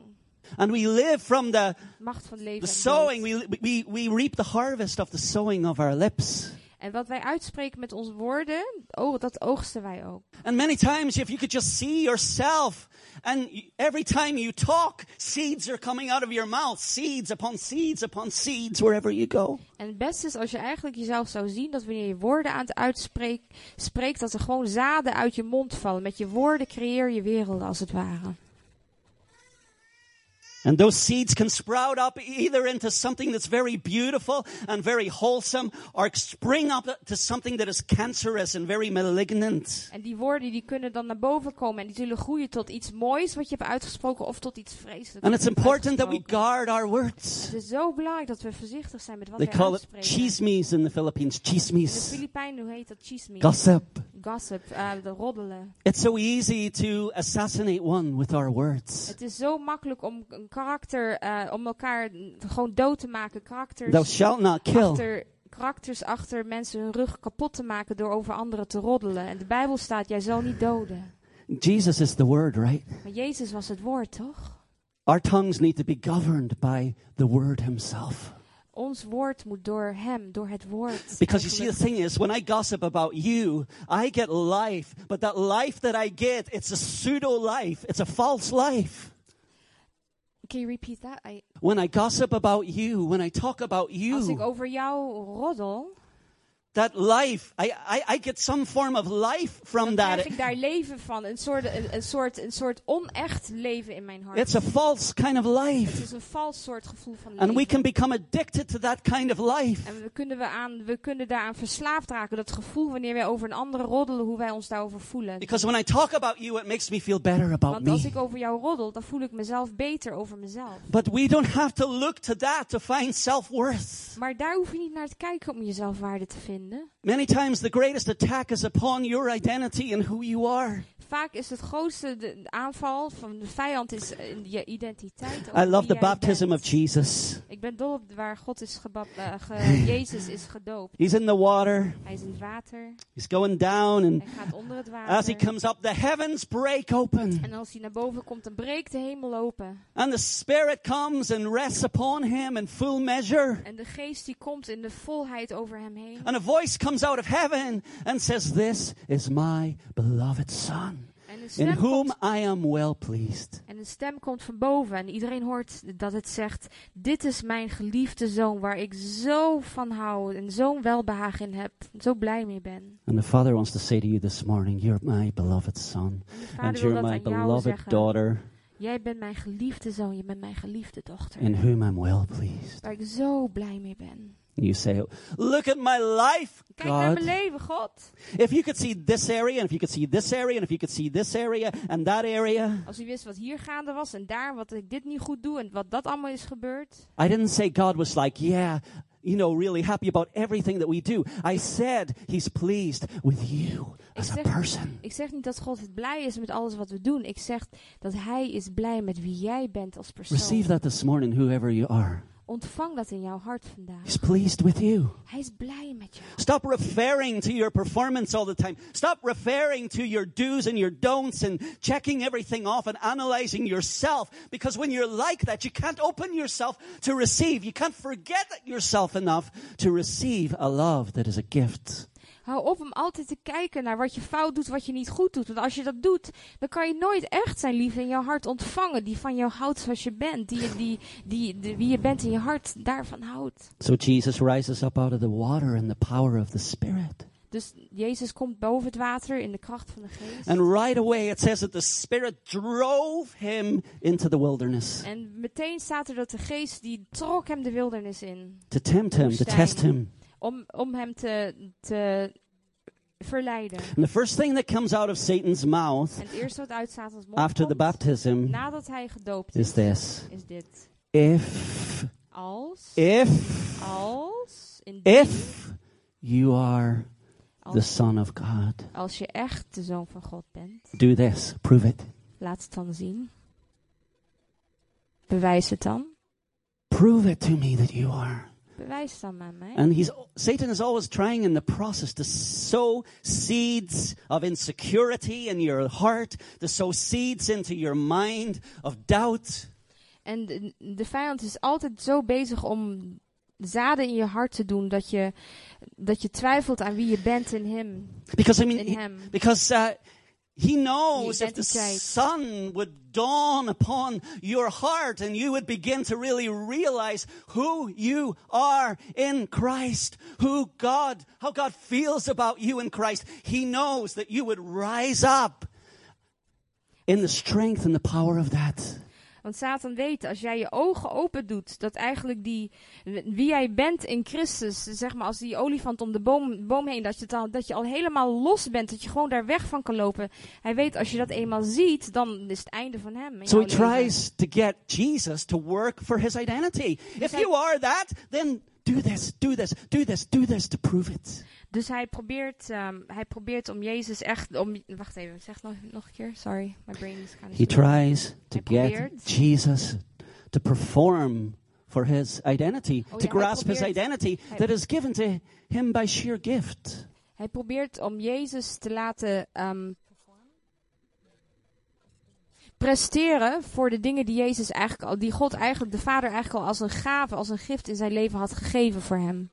[SPEAKER 2] And we live from the,
[SPEAKER 1] Macht van leven
[SPEAKER 2] the
[SPEAKER 1] en
[SPEAKER 2] sowing.
[SPEAKER 1] dood.
[SPEAKER 2] We, we, we reap the harvest of the sowing of our lips.
[SPEAKER 1] En wat wij uitspreken met onze woorden, oh, dat oogsten wij ook.
[SPEAKER 2] And many times, if you could just see yourself, and y- every time you talk, seeds are coming out of your mouth, seeds upon seeds upon seeds, wherever you go.
[SPEAKER 1] En het beste is als je eigenlijk jezelf zou zien dat wanneer je woorden aan het uitspreken spreekt, dat er gewoon zaden uit je mond vallen. Met je woorden creëer je werelden als het ware.
[SPEAKER 2] And those seeds can sprout up either into something that's very beautiful and very wholesome or spring up to something that is cancerous and very malignant.
[SPEAKER 1] En die woorden die kunnen dan naar boven komen en die zullen groeien tot iets moois wat je hebt uitgesproken of tot iets vreselijks.
[SPEAKER 2] And
[SPEAKER 1] wat
[SPEAKER 2] it's
[SPEAKER 1] je hebt
[SPEAKER 2] important that we
[SPEAKER 1] uitgesproken.
[SPEAKER 2] guard our words.
[SPEAKER 1] Het is dus zo belangrijk dat we voorzichtig zijn met wat
[SPEAKER 2] They
[SPEAKER 1] we
[SPEAKER 2] call it
[SPEAKER 1] uitspreken.
[SPEAKER 2] chismes in the Philippines,
[SPEAKER 1] In de
[SPEAKER 2] chismes,
[SPEAKER 1] Filipijnen hoe heet dat chisme?
[SPEAKER 2] gossip.
[SPEAKER 1] Gossip, eh, de roddelen.
[SPEAKER 2] It's so easy to assassinate one with our words.
[SPEAKER 1] Het is zo makkelijk om een karakter, eh, om elkaar mm, gewoon dood te maken. Karakters
[SPEAKER 2] Thou shalt not kill.
[SPEAKER 1] achter, karakters achter mensen hun rug kapot te maken door over anderen te roddelen. En de Bijbel staat, jij zal niet doden.
[SPEAKER 2] Jesus is the word, right?
[SPEAKER 1] Maar Jezus was het woord, toch?
[SPEAKER 2] Our tongues need to be governed by the word himself.
[SPEAKER 1] Ons woord moet door hem, door het
[SPEAKER 2] Because
[SPEAKER 1] woord.
[SPEAKER 2] you see, the
[SPEAKER 1] eigenlijk.
[SPEAKER 2] thing is, when I gossip about you, I get life, but that life that I get, it's a pseudo life, it's a false life.
[SPEAKER 1] Can you repeat that? I-
[SPEAKER 2] When I gossip about you, when I talk about
[SPEAKER 1] als ik
[SPEAKER 2] you,
[SPEAKER 1] over jou roddel,
[SPEAKER 2] that life, I, I, I get some form of life from
[SPEAKER 1] dan
[SPEAKER 2] that.
[SPEAKER 1] krijg ik daar leven van. Een soort, een, een soort, een soort onecht leven in mijn hart.
[SPEAKER 2] It's a false kind of
[SPEAKER 1] Het
[SPEAKER 2] life.
[SPEAKER 1] is een vals soort gevoel van leven.
[SPEAKER 2] And we can become addicted to that kind of life.
[SPEAKER 1] En we kunnen, we, aan, we kunnen daaraan verslaafd raken. Dat gevoel wanneer wij over een andere roddelen, hoe wij ons daarover voelen.
[SPEAKER 2] Because when I talk about you, it makes me feel better about
[SPEAKER 1] Want als
[SPEAKER 2] me.
[SPEAKER 1] ik over jou roddel, dan voel ik mezelf beter over mezelf.
[SPEAKER 2] But we don't have to look to that to find self worth.
[SPEAKER 1] Maar daar hoef je niet naar te kijken om jezelf waarde te vinden.
[SPEAKER 2] Many times the greatest attack is upon your identity and who you are.
[SPEAKER 1] Vaak is het grootste de, de aanval van de vijand is eh, in je identiteit. over
[SPEAKER 2] I love
[SPEAKER 1] wie
[SPEAKER 2] the
[SPEAKER 1] jij
[SPEAKER 2] baptism
[SPEAKER 1] bent.
[SPEAKER 2] of Jesus.
[SPEAKER 1] Ik ben dol op waar God is gebab, eh, ge- Jezus is gedoopt.
[SPEAKER 2] He's in the water.
[SPEAKER 1] Hij is in het water.
[SPEAKER 2] He's going down and
[SPEAKER 1] Hij gaat onder het
[SPEAKER 2] as he
[SPEAKER 1] water.
[SPEAKER 2] comes up the heavens break open
[SPEAKER 1] En als hij naar boven komt, dan breekt de hemel open.
[SPEAKER 2] and the spirit comes and rests upon him in full measure.
[SPEAKER 1] En de geest die komt in de volheid over hem heen.
[SPEAKER 2] And a voice comes out of heaven and says, "This is my beloved son,
[SPEAKER 1] En een
[SPEAKER 2] in
[SPEAKER 1] stem,
[SPEAKER 2] whom
[SPEAKER 1] komt,
[SPEAKER 2] I am well pleased."
[SPEAKER 1] en een stem komt van boven. En iedereen hoort dat het zegt: Dit is mijn geliefde zoon, waar ik zo van hou. En zo'n welbehagen in heb. en Zo blij mee ben.
[SPEAKER 2] And the Father wants to say to you this morning, "You're my beloved son,
[SPEAKER 1] En de
[SPEAKER 2] and
[SPEAKER 1] vader wil
[SPEAKER 2] you're
[SPEAKER 1] dat
[SPEAKER 2] my
[SPEAKER 1] aan jou
[SPEAKER 2] beloved
[SPEAKER 1] zeggen:
[SPEAKER 2] daughter."
[SPEAKER 1] Jij bent mijn geliefde zoon, je bent mijn geliefde dochter.
[SPEAKER 2] in whom I'm well pleased.
[SPEAKER 1] waar ik zo blij mee ben.
[SPEAKER 2] You say, Look at my life,
[SPEAKER 1] Kijk naar
[SPEAKER 2] God.
[SPEAKER 1] mijn leven, God.
[SPEAKER 2] If you could see this area, and if you could see this area, and if you could see this area, and that area.
[SPEAKER 1] Als u wist wat hier gaande was en daar, wat ik dit niet goed doe en wat dat allemaal is gebeurd.
[SPEAKER 2] I didn't say God was like, Yeah, you know, really happy about everything that we do. I said He's pleased with you as a
[SPEAKER 1] zeg-
[SPEAKER 2] person.
[SPEAKER 1] Ik zeg niet dat God het blij is met alles wat we doen. Ik zeg dat Hij is blij met wie jij bent als persoon.
[SPEAKER 2] Receive that this morning, whoever you are.
[SPEAKER 1] Ontvang dat in jouw hart vandaag.
[SPEAKER 2] He's pleased with you.
[SPEAKER 1] Hij is blij met jou.
[SPEAKER 2] Stop referring to your performance all the time. Stop referring to your do's and your don'ts and checking everything off and analyzing yourself. Because when you're like that, you can't open yourself to receive. You can't forget yourself enough to receive a love that is a gift.
[SPEAKER 1] Hou op om altijd te kijken naar wat je fout doet, wat je niet goed doet. Want als je dat doet, dan kan je nooit echt zijn liefde in jouw hart ontvangen. Die van jou houdt zoals je bent. Die, je- die, die, die- wie je bent in je hart, daarvan houdt.
[SPEAKER 2] So Jesus rises up out of the water in the power of the Spirit.
[SPEAKER 1] Dus Jezus komt boven het water in de kracht van de geest.
[SPEAKER 2] And right away it says that the Spirit drove him into the wilderness
[SPEAKER 1] En meteen staat er dat de geest, die trok hem de wildernis in.
[SPEAKER 2] to tempt him, to test him.
[SPEAKER 1] om, om hem te, te verleiden.
[SPEAKER 2] And the first thing that comes out of Satan's mouth
[SPEAKER 1] En het eerste wat uitstaat als mond
[SPEAKER 2] after the
[SPEAKER 1] komt,
[SPEAKER 2] baptism
[SPEAKER 1] nadat hij gedoopt
[SPEAKER 2] is
[SPEAKER 1] is,
[SPEAKER 2] this.
[SPEAKER 1] is dit.
[SPEAKER 2] if
[SPEAKER 1] Als,
[SPEAKER 2] if
[SPEAKER 1] als, indien,
[SPEAKER 2] if you are the
[SPEAKER 1] als,
[SPEAKER 2] son of god
[SPEAKER 1] als je echt de zoon van God bent,
[SPEAKER 2] do this prove it
[SPEAKER 1] laat het dan zien. Bewijs het dan.
[SPEAKER 2] prove it to me that you are
[SPEAKER 1] Bewijs het dan aan mij.
[SPEAKER 2] and he's satan is always trying in the process to sow seeds of insecurity in your heart to sow seeds into your mind of doubt
[SPEAKER 1] En de, de vijand is altijd zo bezig om zaden in je hart te doen dat je, dat je twijfelt aan wie je bent in hem.
[SPEAKER 2] because i mean
[SPEAKER 1] In
[SPEAKER 2] he-
[SPEAKER 1] hem.
[SPEAKER 2] because uh, he knows if the
[SPEAKER 1] Identiteit.
[SPEAKER 2] sun would dawn upon your heart and you would begin to really realize who you are in Christ, who God, how God feels about you in Christ. He knows that you would rise up in the strength and the power of that.
[SPEAKER 1] Want Satan weet, als jij je ogen open doet, dat eigenlijk die, wie jij bent in Christus, zeg maar als die olifant om de boom, boom heen, dat je, het al, dat je al helemaal los bent, dat je gewoon daar weg van kan lopen. Hij weet, als je dat eenmaal ziet, dan is het einde van hem. in
[SPEAKER 2] So
[SPEAKER 1] jouw
[SPEAKER 2] he
[SPEAKER 1] leven.
[SPEAKER 2] tries to get Jesus to work for his identity. If
[SPEAKER 1] hij-
[SPEAKER 2] you are that, then do this, do this, do this, do this to prove it.
[SPEAKER 1] Dus hij probeert, ehm, hij probeert om Jezus echt, om, wacht even, zeg nog, nog een keer, sorry, my brain is kind
[SPEAKER 2] He tries to
[SPEAKER 1] Hij
[SPEAKER 2] get
[SPEAKER 1] probeert.
[SPEAKER 2] Jesus to perform for his identity,
[SPEAKER 1] Oh
[SPEAKER 2] to
[SPEAKER 1] ja, hij
[SPEAKER 2] grasp his
[SPEAKER 1] probeert-
[SPEAKER 2] identity
[SPEAKER 1] hij-
[SPEAKER 2] that is given to him by sheer gift.
[SPEAKER 1] Hij probeert om Jezus te laten ehm, presteren voor de dingen die Jezus eigenlijk al, die God eigenlijk, de Vader eigenlijk al als een gave, als een gift in zijn leven had gegeven voor hem.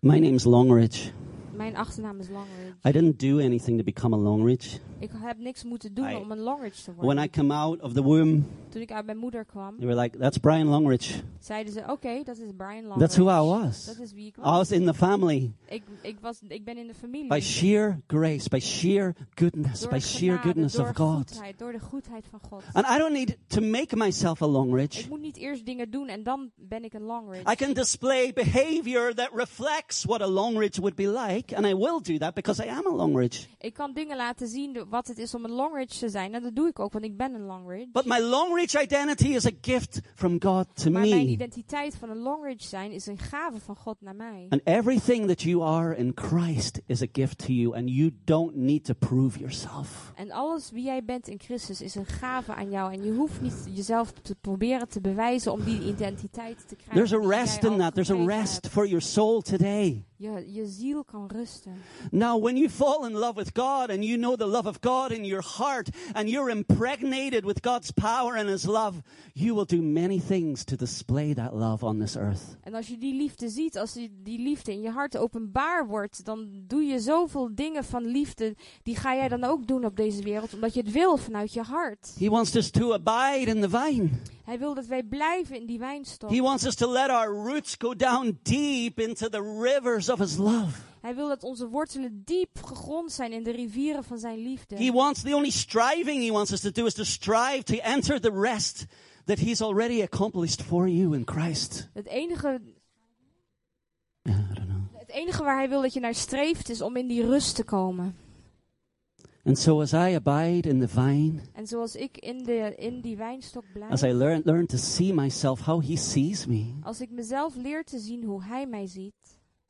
[SPEAKER 2] My name's Longridge.
[SPEAKER 1] Mijn achternaam is Longridge.
[SPEAKER 2] I didn't do anything to become a Longridge.
[SPEAKER 1] Ik heb niks moeten doen
[SPEAKER 2] I-
[SPEAKER 1] om een Longridge te worden.
[SPEAKER 2] When I come out of the womb,
[SPEAKER 1] Toen ik uit mijn moeder kwam,
[SPEAKER 2] they were like, that's Brian Longridge.
[SPEAKER 1] zeiden ze, oké, dat is Brian Longridge.
[SPEAKER 2] That's who I
[SPEAKER 1] Dat
[SPEAKER 2] was.
[SPEAKER 1] is wie ik
[SPEAKER 2] I
[SPEAKER 1] was.
[SPEAKER 2] was in the family
[SPEAKER 1] Ik, ik, was ik ben in de familie.
[SPEAKER 2] by sheer grace, by sheer goodness,
[SPEAKER 1] door
[SPEAKER 2] by sheer
[SPEAKER 1] genade,
[SPEAKER 2] goodness
[SPEAKER 1] door
[SPEAKER 2] of God.
[SPEAKER 1] goedheid, door de goedheid van God.
[SPEAKER 2] And I don't need to make myself a Longridge.
[SPEAKER 1] Ik moet niet eerst dingen doen en dan ben ik een Longridge.
[SPEAKER 2] I can display behavior that reflects what a Longridge would be like, and I will do that because I am a Longridge.
[SPEAKER 1] Ik kan dingen laten zien de- wat het is om een Longridge te zijn. En dat doe ik ook, want ik ben een Longridge.
[SPEAKER 2] But my Longridge identity is a gift from God to
[SPEAKER 1] Maar mijn
[SPEAKER 2] me.
[SPEAKER 1] identiteit van een Longridge zijn is een gave van God naar mij.
[SPEAKER 2] And everything that you are in Christ is a gift to you, and you don't need to prove yourself.
[SPEAKER 1] En alles wie jij bent in Christus is een gave aan jou. En je hoeft niet jezelf te proberen te bewijzen om die identiteit te krijgen.
[SPEAKER 2] There's a
[SPEAKER 1] die jij
[SPEAKER 2] rest
[SPEAKER 1] al
[SPEAKER 2] in that. There's a
[SPEAKER 1] gekregen
[SPEAKER 2] rest
[SPEAKER 1] hebt.
[SPEAKER 2] for your soul today.
[SPEAKER 1] Je, je ziel kan rusten.
[SPEAKER 2] Now, when you fall in love with God and you know the love of God in your heart and you're impregnated with God's power and His love, you will do many things to display that love on this earth.
[SPEAKER 1] En als je die liefde ziet, als je die liefde in je hart openbaar wordt, dan doe je zoveel dingen van liefde. Die ga jij dan ook doen op deze wereld, omdat je het wil vanuit je hart.
[SPEAKER 2] He wants us to abide in the vine.
[SPEAKER 1] Hij wil dat wij blijven in die wijnstok.
[SPEAKER 2] He wants us to let our roots go down deep into the rivers of His love.
[SPEAKER 1] Hij wil dat onze wortelen diep gegrond zijn in de rivieren van zijn
[SPEAKER 2] He
[SPEAKER 1] liefde.
[SPEAKER 2] wants the only striving He wants us to do is to strive to enter the rest that He's already accomplished for you in Christ.
[SPEAKER 1] Het enige,
[SPEAKER 2] Yeah, I don't know.
[SPEAKER 1] het enige waar hij wil dat je naar streeft is om in die rust te komen.
[SPEAKER 2] And so, as I abide in the vine,
[SPEAKER 1] En zoals ik in, de, in die wijnstok
[SPEAKER 2] as
[SPEAKER 1] blijf,
[SPEAKER 2] I learn, learn to see myself how He sees me,
[SPEAKER 1] als ik mezelf leer te zien hoe hij mij ziet,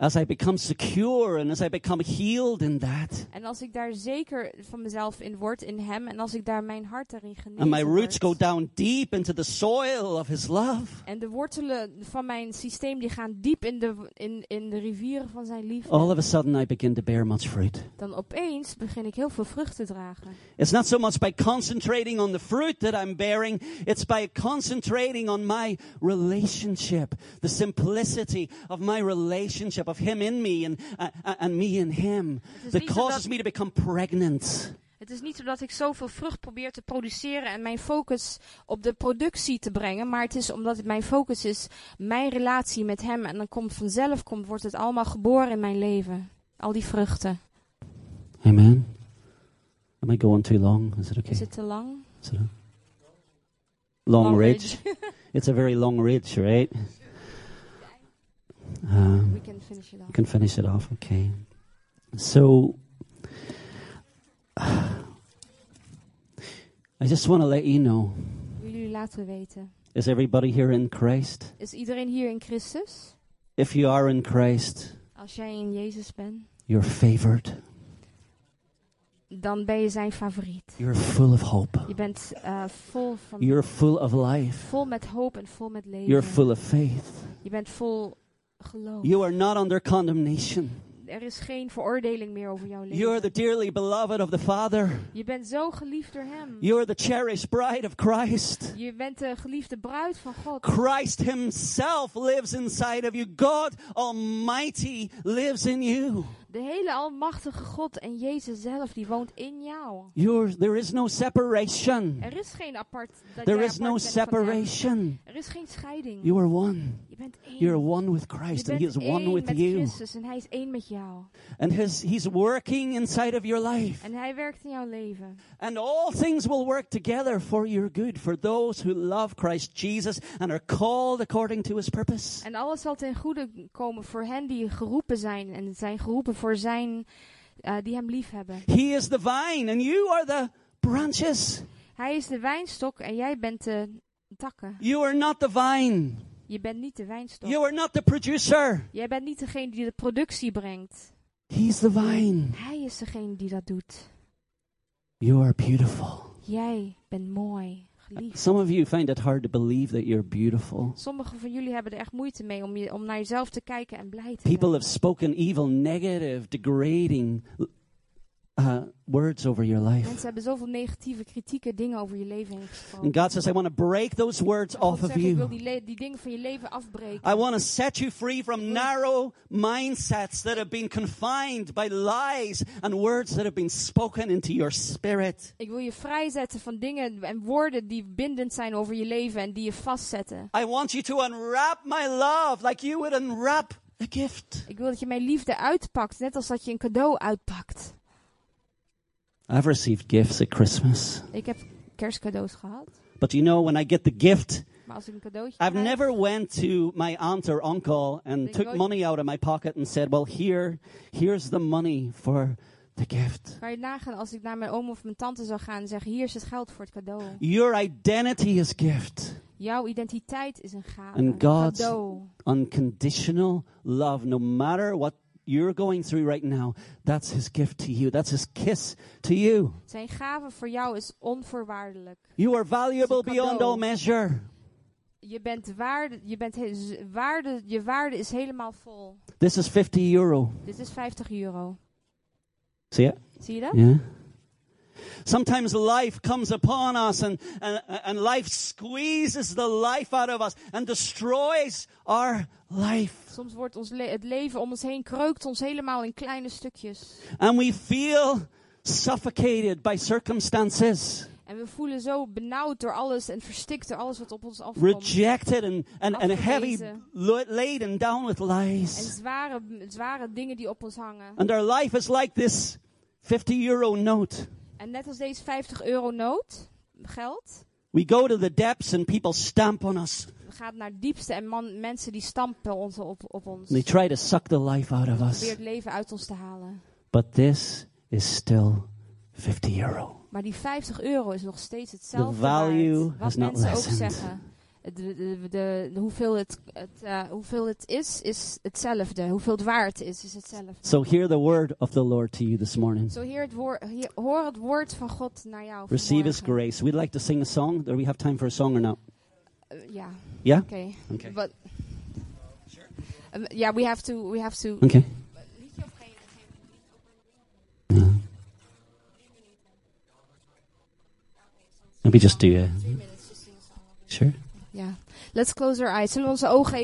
[SPEAKER 2] as I become secure and as I become healed in that,
[SPEAKER 1] en als ik daar zeker van mezelf in word in hem, en als ik daar mijn hart daarin
[SPEAKER 2] and my
[SPEAKER 1] genezen
[SPEAKER 2] roots go
[SPEAKER 1] word,
[SPEAKER 2] down deep into the soil of His love.
[SPEAKER 1] en de wortelen van mijn systeem die gaan diep in de, in, in de rivieren van zijn
[SPEAKER 2] All
[SPEAKER 1] liefde,
[SPEAKER 2] of a sudden, I begin to bear much fruit.
[SPEAKER 1] dan opeens begin ik heel veel vrucht te dragen.
[SPEAKER 2] It's not so much by concentrating on the fruit that I'm bearing, it's by concentrating on my relationship, the simplicity of my relationship, of Him in me and, uh, uh, and me in Him,
[SPEAKER 1] is
[SPEAKER 2] that
[SPEAKER 1] niet zo
[SPEAKER 2] causes
[SPEAKER 1] dat-
[SPEAKER 2] me to become pregnant.
[SPEAKER 1] Het is niet zo dat ik zoveel vrucht probeer te produceren en mijn focus op de productie te brengen, maar het is omdat het mijn focus is mijn relatie met hem en dan komt vanzelf komt wordt het allemaal geboren in mijn leven. Al die vruchten.
[SPEAKER 2] Amen. Am I going too long? Is it okay?
[SPEAKER 1] Is het te lang?
[SPEAKER 2] Is it a- long, ridge. It's a very long ridge, right? Um,
[SPEAKER 1] We can finish it
[SPEAKER 2] You
[SPEAKER 1] off.
[SPEAKER 2] can finish it off, okay. So, I just want to let you know
[SPEAKER 1] Jullie laten weten.
[SPEAKER 2] is everybody here in Christ?
[SPEAKER 1] Is iedereen hier in Christus?
[SPEAKER 2] If you are in Christ,
[SPEAKER 1] Als jij in Jezus bent,
[SPEAKER 2] you're favored,
[SPEAKER 1] dan ben je zijn favoriet.
[SPEAKER 2] you're full of hope,
[SPEAKER 1] Je bent eh, vol van
[SPEAKER 2] you're full of life,
[SPEAKER 1] vol met hoop en vol met
[SPEAKER 2] you're
[SPEAKER 1] leven.
[SPEAKER 2] full of faith.
[SPEAKER 1] Je bent vol geloof.
[SPEAKER 2] You are not under condemnation.
[SPEAKER 1] Er is geen veroordeling meer over jouw
[SPEAKER 2] You are
[SPEAKER 1] leven.
[SPEAKER 2] the dearly beloved of the Father.
[SPEAKER 1] Je bent zo geliefd door Hem.
[SPEAKER 2] You are the cherished bride of Christ.
[SPEAKER 1] Je bent de geliefde bruid van God.
[SPEAKER 2] Christ Himself lives inside of you. God Almighty lives in you.
[SPEAKER 1] De hele almachtige God en Jezus zelf, die woont in jou.
[SPEAKER 2] You're, there is no separation.
[SPEAKER 1] Er is geen apart. Dat
[SPEAKER 2] There
[SPEAKER 1] jij
[SPEAKER 2] is no
[SPEAKER 1] apart bent van hem.
[SPEAKER 2] separation.
[SPEAKER 1] Er is geen scheiding.
[SPEAKER 2] You are one.
[SPEAKER 1] je bent één.
[SPEAKER 2] You're one with
[SPEAKER 1] je
[SPEAKER 2] Christ, and
[SPEAKER 1] bent
[SPEAKER 2] He is one
[SPEAKER 1] één
[SPEAKER 2] with
[SPEAKER 1] met
[SPEAKER 2] you.
[SPEAKER 1] Christus en hij is één met jou.
[SPEAKER 2] And his, He's working inside of your life.
[SPEAKER 1] En hij werkt in jouw leven.
[SPEAKER 2] And all things will work together for your good, for those who love Christ Jesus and are called according to His purpose.
[SPEAKER 1] En alles zal ten goede komen voor hen die geroepen zijn. En zijn geroepen voor zijn, eh, die hem lief hebben.
[SPEAKER 2] He is the vine, and you are the branches.
[SPEAKER 1] Hij is de wijnstok en jij bent de takken.
[SPEAKER 2] You are not the vine.
[SPEAKER 1] Je bent niet de wijnstok.
[SPEAKER 2] You are not the producer.
[SPEAKER 1] Jij bent niet degene die de productie brengt.
[SPEAKER 2] He's the vine.
[SPEAKER 1] Hij is degene die dat doet.
[SPEAKER 2] You are beautiful.
[SPEAKER 1] Jij bent mooi, geliefd.
[SPEAKER 2] Some of you find it hard to believe that you're beautiful.
[SPEAKER 1] Sommigen van jullie hebben er echt moeite mee om, je, om naar jezelf te kijken en blij te
[SPEAKER 2] People
[SPEAKER 1] zijn.
[SPEAKER 2] have spoken evil, negative, degrading uh, words over your life.
[SPEAKER 1] Mensen hebben zoveel negatieve kritieken, dingen over je leven heen gesproken.
[SPEAKER 2] And God says, I want to break those words
[SPEAKER 1] God
[SPEAKER 2] off of
[SPEAKER 1] zegt, ik wil
[SPEAKER 2] you.
[SPEAKER 1] die, le- die dingen van je leven afbreken.
[SPEAKER 2] I want to set you free from narrow mindsets that have been confined by lies and words that have been spoken into your spirit.
[SPEAKER 1] Ik wil je vrijzetten van dingen en woorden die bindend zijn over je leven en die je vastzetten.
[SPEAKER 2] I want you to unwrap my love like you would unwrap a gift.
[SPEAKER 1] Ik wil dat je mijn liefde uitpakt, net als dat je een cadeau uitpakt.
[SPEAKER 2] I've received gifts at Christmas.
[SPEAKER 1] Ik heb kerstcadeaus gehad,
[SPEAKER 2] But you know, when I get the gift,
[SPEAKER 1] maar als ik een cadeautje
[SPEAKER 2] I've
[SPEAKER 1] krijg,
[SPEAKER 2] never went to my aunt or uncle and
[SPEAKER 1] Then
[SPEAKER 2] took
[SPEAKER 1] go-
[SPEAKER 2] money out of my pocket and said, "Well, here, here's the money for the gift."
[SPEAKER 1] kan je nagaan als ik naar mijn oom of mijn tante zou gaan en zeggen, hier is het geld voor het cadeau.
[SPEAKER 2] Your identity is gift.
[SPEAKER 1] Jouw identiteit is een gave,
[SPEAKER 2] And
[SPEAKER 1] een
[SPEAKER 2] God's-
[SPEAKER 1] cadeau.
[SPEAKER 2] Unconditional love, no matter what you're going through right now, that's his gift to you. That's his kiss to you.
[SPEAKER 1] Zijn gave voor jou is onvoorwaardelijk.
[SPEAKER 2] You are valuable beyond
[SPEAKER 1] cadeau.
[SPEAKER 2] all measure.
[SPEAKER 1] Je bent waarde, je, bent he- z- waarde, je waarde is helemaal vol.
[SPEAKER 2] This is 50 euro.
[SPEAKER 1] Dit is 50 euro.
[SPEAKER 2] See it?
[SPEAKER 1] Zie je dat?
[SPEAKER 2] Yeah. Sometimes life comes upon us and, and, and life squeezes the life out of us and destroys our life.
[SPEAKER 1] Soms wordt ons le- het leven om ons heen kreukt ons helemaal in kleine stukjes.
[SPEAKER 2] And we feel suffocated by circumstances,
[SPEAKER 1] En we voelen zo benauwd door alles en verstikt door alles wat op ons afkomt.
[SPEAKER 2] rejected and, and, and heavy,
[SPEAKER 1] Afgewezen.
[SPEAKER 2] lo- laden down with
[SPEAKER 1] En
[SPEAKER 2] lies.
[SPEAKER 1] zware, zware dingen die op ons hangen.
[SPEAKER 2] And our life is like this 50 euro note.
[SPEAKER 1] En net als deze 50 euro nood, geld,
[SPEAKER 2] We go to the depths and people stamp on us.
[SPEAKER 1] gaat naar het diepste en man, mensen die stampen ons op, op ons.
[SPEAKER 2] They try to suck the life out of
[SPEAKER 1] Probeer
[SPEAKER 2] us.
[SPEAKER 1] het leven uit ons te halen.
[SPEAKER 2] But this is still 50 euro.
[SPEAKER 1] Maar die 50 euro is nog steeds hetzelfde
[SPEAKER 2] The value
[SPEAKER 1] waard, wat
[SPEAKER 2] has not
[SPEAKER 1] mensen ook
[SPEAKER 2] lessened.
[SPEAKER 1] zeggen. De, de, de, de- hoeveel, het, het, eh, hoeveel het is, is hetzelfde. Hoeveel het waard is, is hetzelfde.
[SPEAKER 2] So hear the word of the Lord to you this morning.
[SPEAKER 1] Zo heer het woor- heer- hoor het woord van God naar jou.
[SPEAKER 2] Receive His
[SPEAKER 1] vanmorgen.
[SPEAKER 2] grace. We'd like to sing a song. Do we have time for a song or not?
[SPEAKER 1] Eh, ja,
[SPEAKER 2] Yeah.
[SPEAKER 1] oké.
[SPEAKER 2] Okay.
[SPEAKER 1] Wat- Eh, Ja, we have to... We have to
[SPEAKER 2] Okay.
[SPEAKER 1] Liedje of geen- geen-
[SPEAKER 2] Let me just do a
[SPEAKER 1] Three minutes, just sing a song.
[SPEAKER 2] sure.
[SPEAKER 1] Ja. Let's close our eyes. Zullen we onze ogen even...